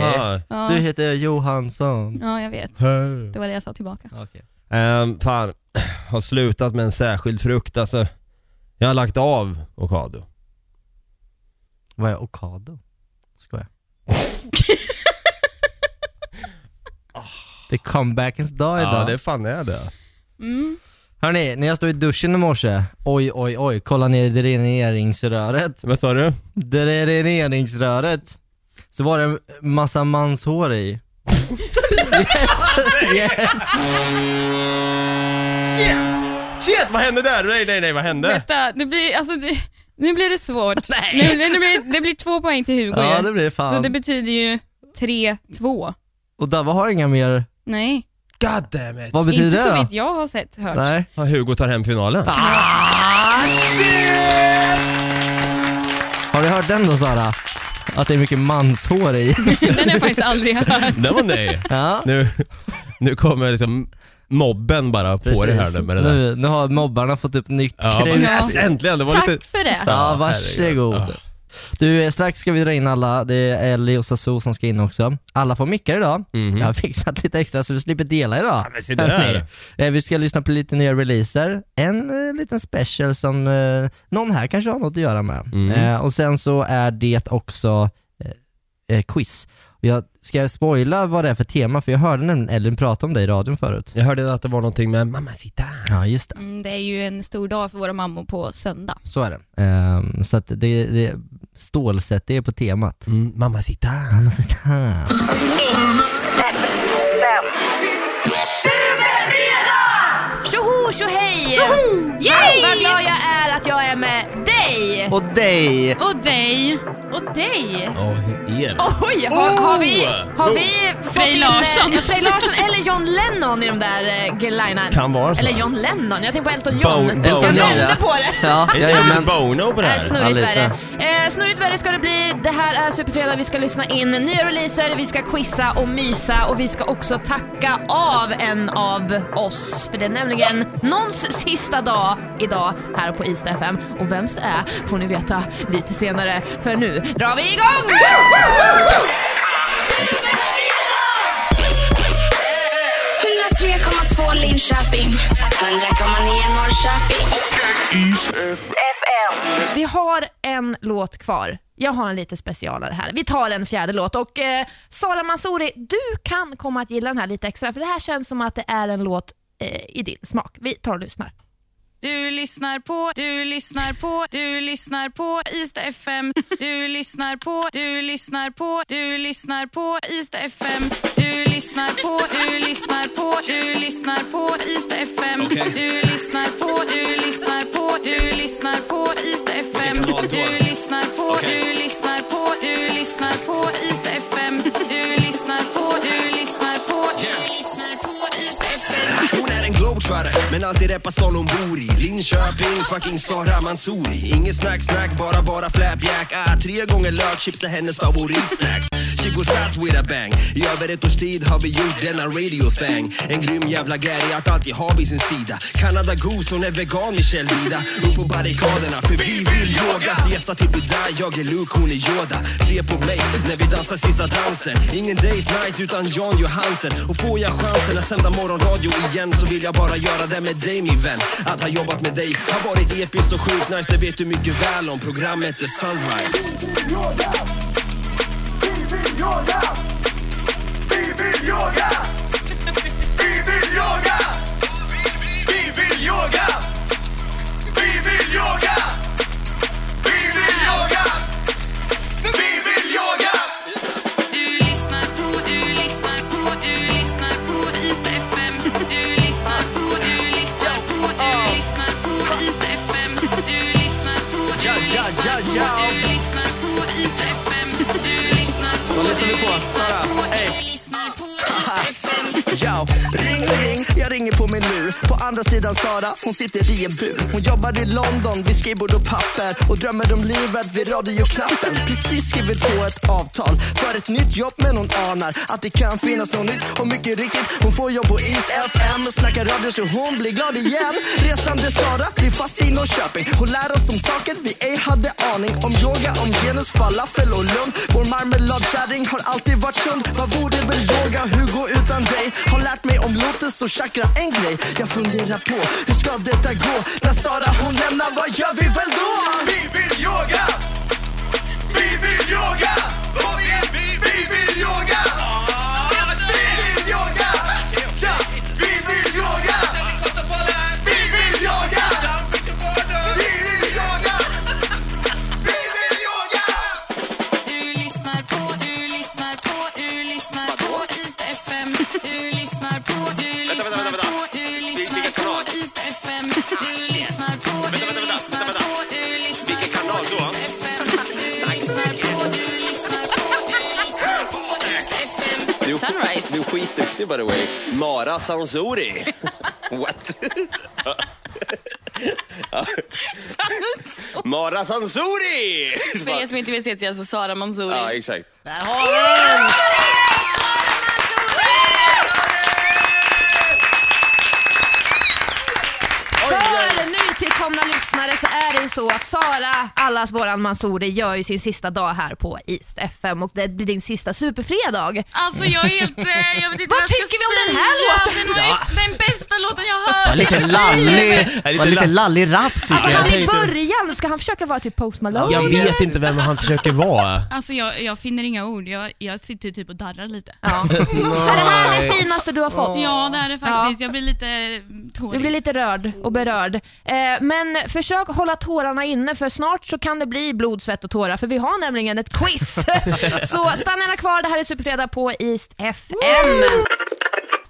Speaker 12: Ja.
Speaker 2: Du heter Johansson.
Speaker 12: Ja, jag vet.
Speaker 7: Hej.
Speaker 12: Det var det jag sa tillbaka.
Speaker 7: Ehm, fan, har slutat med en särskild frukt alltså. Jag har lagt av avokado.
Speaker 2: Vad är okado? Skojar. det är comebackens dag idag.
Speaker 7: Ja, det fan är det.
Speaker 12: Mm.
Speaker 2: Hörni, när jag stod i duschen i morse, oj oj oj, kolla ner i dräneringsröret.
Speaker 7: Vad sa du?
Speaker 2: Dräneringsröret. Så var det en massa manshår i. yes!
Speaker 7: Shit! Shit, vad hände där? Nej, nej, nej, vad hände?
Speaker 12: Vänta, det blir, alltså, det, nu blir det svårt. Nu, nu, nu blir, det blir två poäng till Hugo
Speaker 2: Ja,
Speaker 12: ju.
Speaker 2: det blir det fan.
Speaker 12: Så det betyder ju 3-2.
Speaker 2: Och Dava har inga mer,
Speaker 12: Nej,
Speaker 7: God damn it.
Speaker 2: vad betyder
Speaker 12: inte så
Speaker 2: det då?
Speaker 12: vitt jag har sett hört.
Speaker 2: Nej.
Speaker 7: Ja, Hugo tar hem finalen.
Speaker 2: Har du hört den då Sara? Att det är mycket manshår i.
Speaker 12: Den har jag faktiskt aldrig hört.
Speaker 7: Det var nej.
Speaker 2: Ja.
Speaker 7: Nu, nu kommer liksom mobben bara på det här nu med det där.
Speaker 2: Nu, nu har mobbarna fått upp nytt
Speaker 7: Ja,
Speaker 2: krut.
Speaker 7: men äntligen, det var
Speaker 12: Tack
Speaker 7: lite...
Speaker 12: för det.
Speaker 2: Ja,
Speaker 7: Ja,
Speaker 2: varsågod.
Speaker 7: herregud.
Speaker 2: Du, eh, strax ska vi dra in alla. Det är Ellie och Sasu som ska in också. Alla får mickar idag.
Speaker 7: Mhm.
Speaker 2: Jag har fixat lite extra så vi slipper dela idag.
Speaker 7: men se där.
Speaker 2: Hörrni, eh, Vi ska lyssna på lite nya releaser. En eh, liten special som eh, någon här kanske har något att göra med.
Speaker 7: Mm.
Speaker 2: Eh, och sen så är det också eh, eh, quiz. Och Jag ska spoila vad det är för tema för jag hörde nämligen Ellen prata om det i radion förut.
Speaker 7: Jag hörde att det var någonting med mamacita.
Speaker 2: Ja, just det.
Speaker 12: Mm, det är ju en stor dag för våra mammor på söndag.
Speaker 2: Så är det. Ehm, så att det, det, stålsätt det är på temat.
Speaker 7: Mm, mamacita.
Speaker 13: Tjoho tjohej! Yay! Vad glad jag är att jag är med dig!
Speaker 2: Och dig!
Speaker 12: Och dig!
Speaker 13: Och dig!
Speaker 7: Och er.
Speaker 13: Oj, har,
Speaker 2: Oh!
Speaker 13: har vi, har vi
Speaker 12: Oh!
Speaker 13: fått
Speaker 12: Frej
Speaker 13: in, eh,
Speaker 12: Larsson.
Speaker 13: Frej Larsson eller John Lennon i de där eh, linan?
Speaker 7: Kan vara så.
Speaker 13: Eller John Lennon, jag tänkte på Elton John.
Speaker 7: Bo- Elton
Speaker 13: jag
Speaker 7: John,
Speaker 13: vände
Speaker 2: ja.
Speaker 13: på det.
Speaker 2: Ja,
Speaker 7: Är det men... Bono på det
Speaker 13: Äh,
Speaker 7: här?
Speaker 13: snurrigt
Speaker 2: Ja, lite.
Speaker 13: värre. Eh, snurrigt värre ska det bli. Det här är Superfredag. Vi ska lyssna in nya releaser, vi ska quizza och mysa och vi ska också tacka av en av oss. För det är nämligen någons sista dag idag här på Ista FM. Och vems det är får ni veta lite senare. För nu drar vi igång!
Speaker 10: Linköping, 100,9 Norrköping.
Speaker 13: Vi har en låt kvar. Jag har en lite specialare här. Vi tar en fjärde låt. Och eh, Sara Mansouri, du kan komma att gilla den här lite extra, för det här känns som att det är en låt eh, i din smak. Vi tar och lyssnar.
Speaker 12: Du lyssnar på, du lyssnar på, du lyssnar på Ista FM. Du lyssnar på, du lyssnar på, du lyssnar på Ista FM. Du lyssnar på, du lyssnar på, du lyssnar på Ista FM. Du lyssnar på, du lyssnar på, du lyssnar på Ista FM. Du lyssnar på, du lyssnar på, du lyssnar på Ista FM. Du lyssnar på, du lyssnar på, du lyssnar på Ista FM.
Speaker 14: Hon är en globetrotter, men alltid rappar stan hon bor i Linköping, fucking Sara Mansouri Inget snack, snack, bara, bara flapjack ah, Tre gånger lökchips är hennes favoritsnacks She goes out with a bang I över ett års tid har vi gjort denna radio-thang En grym jävla gäri att alltid ha vid sin sida Canada Goose, hon är vegan, Michelle Vida Upp på barrikaderna, för vi vill yoga Så Gästa till Bidai, jag är Luke, hon är Yoda Se på mig när vi dansar sista dansen Ingen date night utan Jan Johansen Och får jag chansen att sända morgonradio igen så vill jag bara göra det med dig min vän Att ha jobbat med dig har varit episkt och sjukt nice Det vet du mycket väl om programmet The Sunrise
Speaker 12: Du lyssnar på, du lyssnar på, du lyssnar på Ystad FM. Du lyssnar på, du lyssnar på, du lyssnar på Ystad FM. Du lyssnar på, du
Speaker 14: Ja, ja,
Speaker 12: lyssnar
Speaker 14: ja,
Speaker 12: på,
Speaker 14: ja.
Speaker 12: du lyssnar på Ystad FM. Du lyssnar på,
Speaker 14: Vad
Speaker 12: du
Speaker 14: lyssnar vi på,
Speaker 12: lyssnar
Speaker 14: Sara?
Speaker 12: på,
Speaker 14: Ey.
Speaker 12: du lyssnar på Ystad FM.
Speaker 14: Yo. Ring ring, jag
Speaker 15: ringer på min lur. På andra sidan Sara, hon sitter i en bur. Hon jobbar i London vid skrivbord och papper och drömmer om livet vid radioknappen. Precis skrivit på ett avtal för ett nytt jobb men hon anar att det kan finnas något nytt och mycket riktigt hon får jobb på East FM. Snackar radio så hon blir glad igen. Resande Sara blir fast i Norrköping. Hon lär oss om saker vi ej hade aning om. Yoga, om genus, falafel och lugn. Vår marmeladkärring har alltid varit sund. Vad vore väl yoga, Hugo, utan dig? Har lärt mig om lotus och chakra, en grej jag funderar på. Hur ska detta gå? När Sara hon lämnar, vad gör vi väl då? Vi vill yoga! Vi vill yoga! Kom igen, vi, vi vill yoga! Vi vill yoga! Ja, vi vill yoga! Vi vill yoga! Vi vill yoga! Vi vill yoga!
Speaker 10: Du lyssnar på, du lyssnar på, du lyssnar på East FM. Du lyssnar på, du lyssnar på, du lyssnar på East FM. Du lyssnar på, du lyssnar på, du lyssnar på Vilken kanal då? Du lyssnar på, du lyssnar på, du lyssnar på East FM.
Speaker 14: Du, Sunrise. Du är skitduktig by the way. Mara Sansouri. What? Mara Sansouri!
Speaker 12: För er som inte vet så heter jag alltså Sara Mansouri.
Speaker 14: Ja, exakt.
Speaker 12: Där har vi den!
Speaker 13: För nytillkomna lyssnare så är det ju så att Sara, allas våran Mansouri, gör ju sin sista dag här på East FM och det blir din sista superfredag.
Speaker 12: Alltså jag är helt... eh, Jag vet inte
Speaker 13: Vad
Speaker 12: vad, jag ska
Speaker 13: tycker vi om den här
Speaker 12: säga.
Speaker 13: låten?
Speaker 12: Den, var ju, den bästa låten jag har hört
Speaker 2: Var lite lallig, var lite lallig rap tycker
Speaker 13: Alltså
Speaker 2: jag.
Speaker 13: han i början, ska han försöka vara typ Post Malone?
Speaker 2: Jag
Speaker 7: vet inte vem han försöker vara.
Speaker 12: Alltså jag, jag finner inga ord, jag, jag sitter ju typ och darrar lite.
Speaker 13: Är det här det finaste du har fått?
Speaker 12: Ja det är det faktiskt, jag blir lite
Speaker 13: Du
Speaker 12: tårig.
Speaker 13: blir lite rörd och berörd. Eh, men försök hålla tårarna inne för snart så kan det bli blod, svett och tårar för vi har nämligen ett quiz. så stanna gärna kvar, det här är Superfredag på East FM.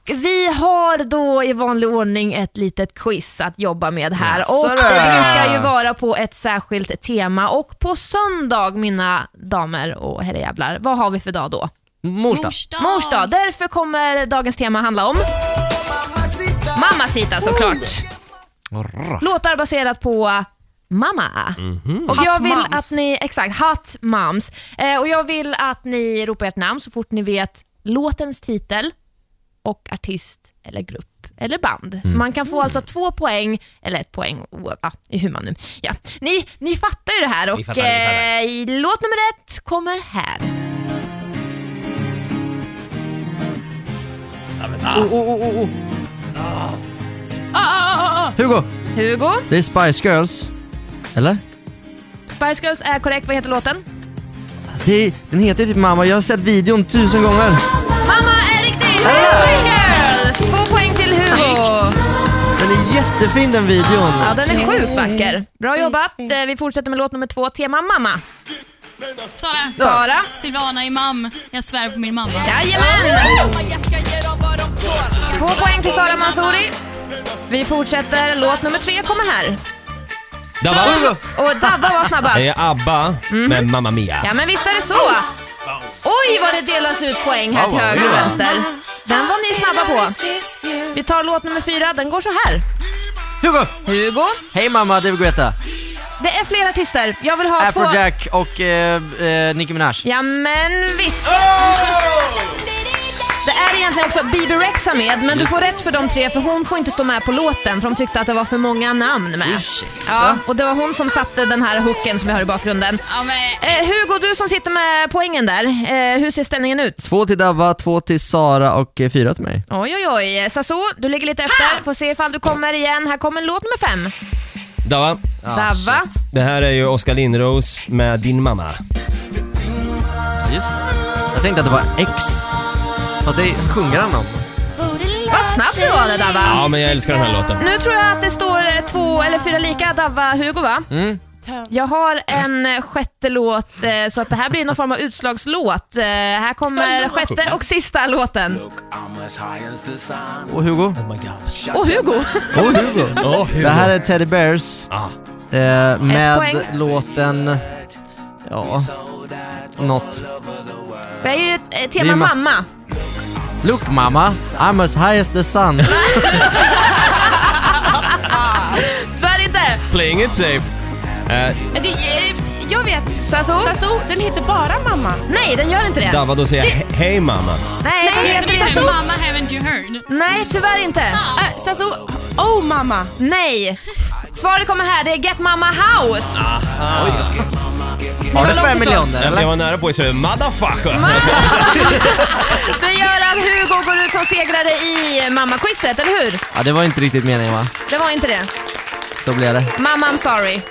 Speaker 13: Vi har då i vanlig ordning ett litet quiz att jobba med här och
Speaker 10: Jaså
Speaker 13: det
Speaker 10: du.
Speaker 13: brukar ju vara på ett särskilt tema och på söndag mina damer och herrejävlar, vad har vi för dag då?
Speaker 2: Morsdag.
Speaker 13: Morsdag. Därför kommer dagens tema handla om Mamacita såklart. Låtar baserat på Mamma. Och jag
Speaker 10: Mhm. Hot
Speaker 13: vill
Speaker 10: moms.
Speaker 13: att ni, exakt, Hot Moms. Eh, och jag vill att ni ropar ert namn så fort ni vet låtens titel och artist eller grupp eller band. Så
Speaker 10: Mm.
Speaker 13: man kan få alltså två poäng, eller ett poäng, o- ja, i hur man nu... Ja. Ni, ni fattar ju det här och
Speaker 10: Vi fattar, vi fattar.
Speaker 13: eh, låt nummer ett kommer här.
Speaker 2: Oh, oh, oh, oh. Hugo!
Speaker 13: Hugo,
Speaker 2: Det är Spice Girls. Eller?
Speaker 13: Spice Girls är korrekt, vad heter låten?
Speaker 2: Det är, den heter ju typ Mamma, jag har sett videon tusen gånger. Ah!
Speaker 13: Mamma är riktigt! Det är Spice Girls! Två poäng till Hugo.
Speaker 2: Den är jättefin den videon.
Speaker 13: Ja, den är sjukt vacker. Bra jobbat. Eh, Vi fortsätter med låt nummer två, tema mamma.
Speaker 12: Sara.
Speaker 13: Sara.
Speaker 12: Silvana Imam. Jag svär på min mamma.
Speaker 13: Jajamän! Två poäng till Sara Mansouri. Vi fortsätter, låt nummer tre kommer här.
Speaker 7: Dabba!
Speaker 13: Och Dabba var snabbast.
Speaker 7: Eh, ABBA med Mamma Mia.
Speaker 13: Mhm. Ja men visst är det så. Oj vad det delas ut poäng här till
Speaker 7: Ja,
Speaker 13: höger och
Speaker 7: ja.
Speaker 13: vänster. Den var ni snabba på. Vi tar låt nummer fyra, den går så här.
Speaker 2: Hugo!
Speaker 13: Hugo!
Speaker 2: Hej mamma, det är Guetta.
Speaker 13: Det är fler artister, jag vill ha två.
Speaker 2: Afrojack och eh, eh, Nicki Minaj.
Speaker 13: Ja men visst. Det är egentligen också Bibi Rexa med, men du får rätt för de tre för hon får inte stå med på låten för de tyckte att det var för många namn med. Ja, och det var hon som satte den här hooken som vi hör i bakgrunden. Eh, Hugo, du som sitter med poängen där, eh, hur ser ställningen ut?
Speaker 2: Två till Dabba, två till Sara och eh, fyra till mig.
Speaker 13: Oj, oj, oj. Sasso, du ligger lite efter. Får se ifall du kommer igen. Här kommer låt nummer fem.
Speaker 7: Dabba.
Speaker 2: Ah,
Speaker 13: Dabba.
Speaker 7: Det här är ju Oskar Lindros med Din mamma.
Speaker 2: Just Jag tänkte att det var X. Fast det sjunger han om.
Speaker 13: Vad snabb du var där, Dabba.
Speaker 7: Ja, men jag älskar den här låten.
Speaker 13: Nu tror jag att det står eh, två eller fyra lika Dabba-Hugo, va?
Speaker 7: Mm.
Speaker 13: Jag har en eh, sjätte låt, eh, så att det här blir någon form av utslagslåt. Eh, Här kommer sjätte och sista låten.
Speaker 2: Och Hugo.
Speaker 13: Och Hugo!
Speaker 2: Och Hugo. Det här är Teddy Bears eh, med
Speaker 13: poäng.
Speaker 2: låten... Ja... Något.
Speaker 13: Det är ju ett eh,
Speaker 2: Det är
Speaker 13: tema
Speaker 2: ma-
Speaker 13: mamma.
Speaker 2: Look mamma, I'm as high as the sun.
Speaker 13: Svär inte!
Speaker 7: Playing it safe. Eh,
Speaker 6: Det, eh, jag vet.
Speaker 13: Sasso?
Speaker 6: Sasso, den heter bara mamma.
Speaker 13: Nej, den gör inte det.
Speaker 7: Dava, då säger jag he- hej mamma.
Speaker 13: Nej,
Speaker 6: Nej,
Speaker 13: den heter Mm,
Speaker 6: det är
Speaker 13: Sasso.
Speaker 6: mamma,
Speaker 13: haven't you heard? Nej, tyvärr inte.
Speaker 6: Ah, Sasso, oh mamma.
Speaker 13: Nej. Svaret kommer här, det är Get Mama House.
Speaker 7: Har
Speaker 13: du fem miljoner,
Speaker 7: eller? Jag var nära på att säga motherfucker.
Speaker 13: Det gör att Hugo går ut som segrare i mamma-quizet, eller hur?
Speaker 2: ja, det var inte riktigt meningen va?
Speaker 13: Det var inte det.
Speaker 2: Så blev det.
Speaker 13: Mamma, I'm sorry.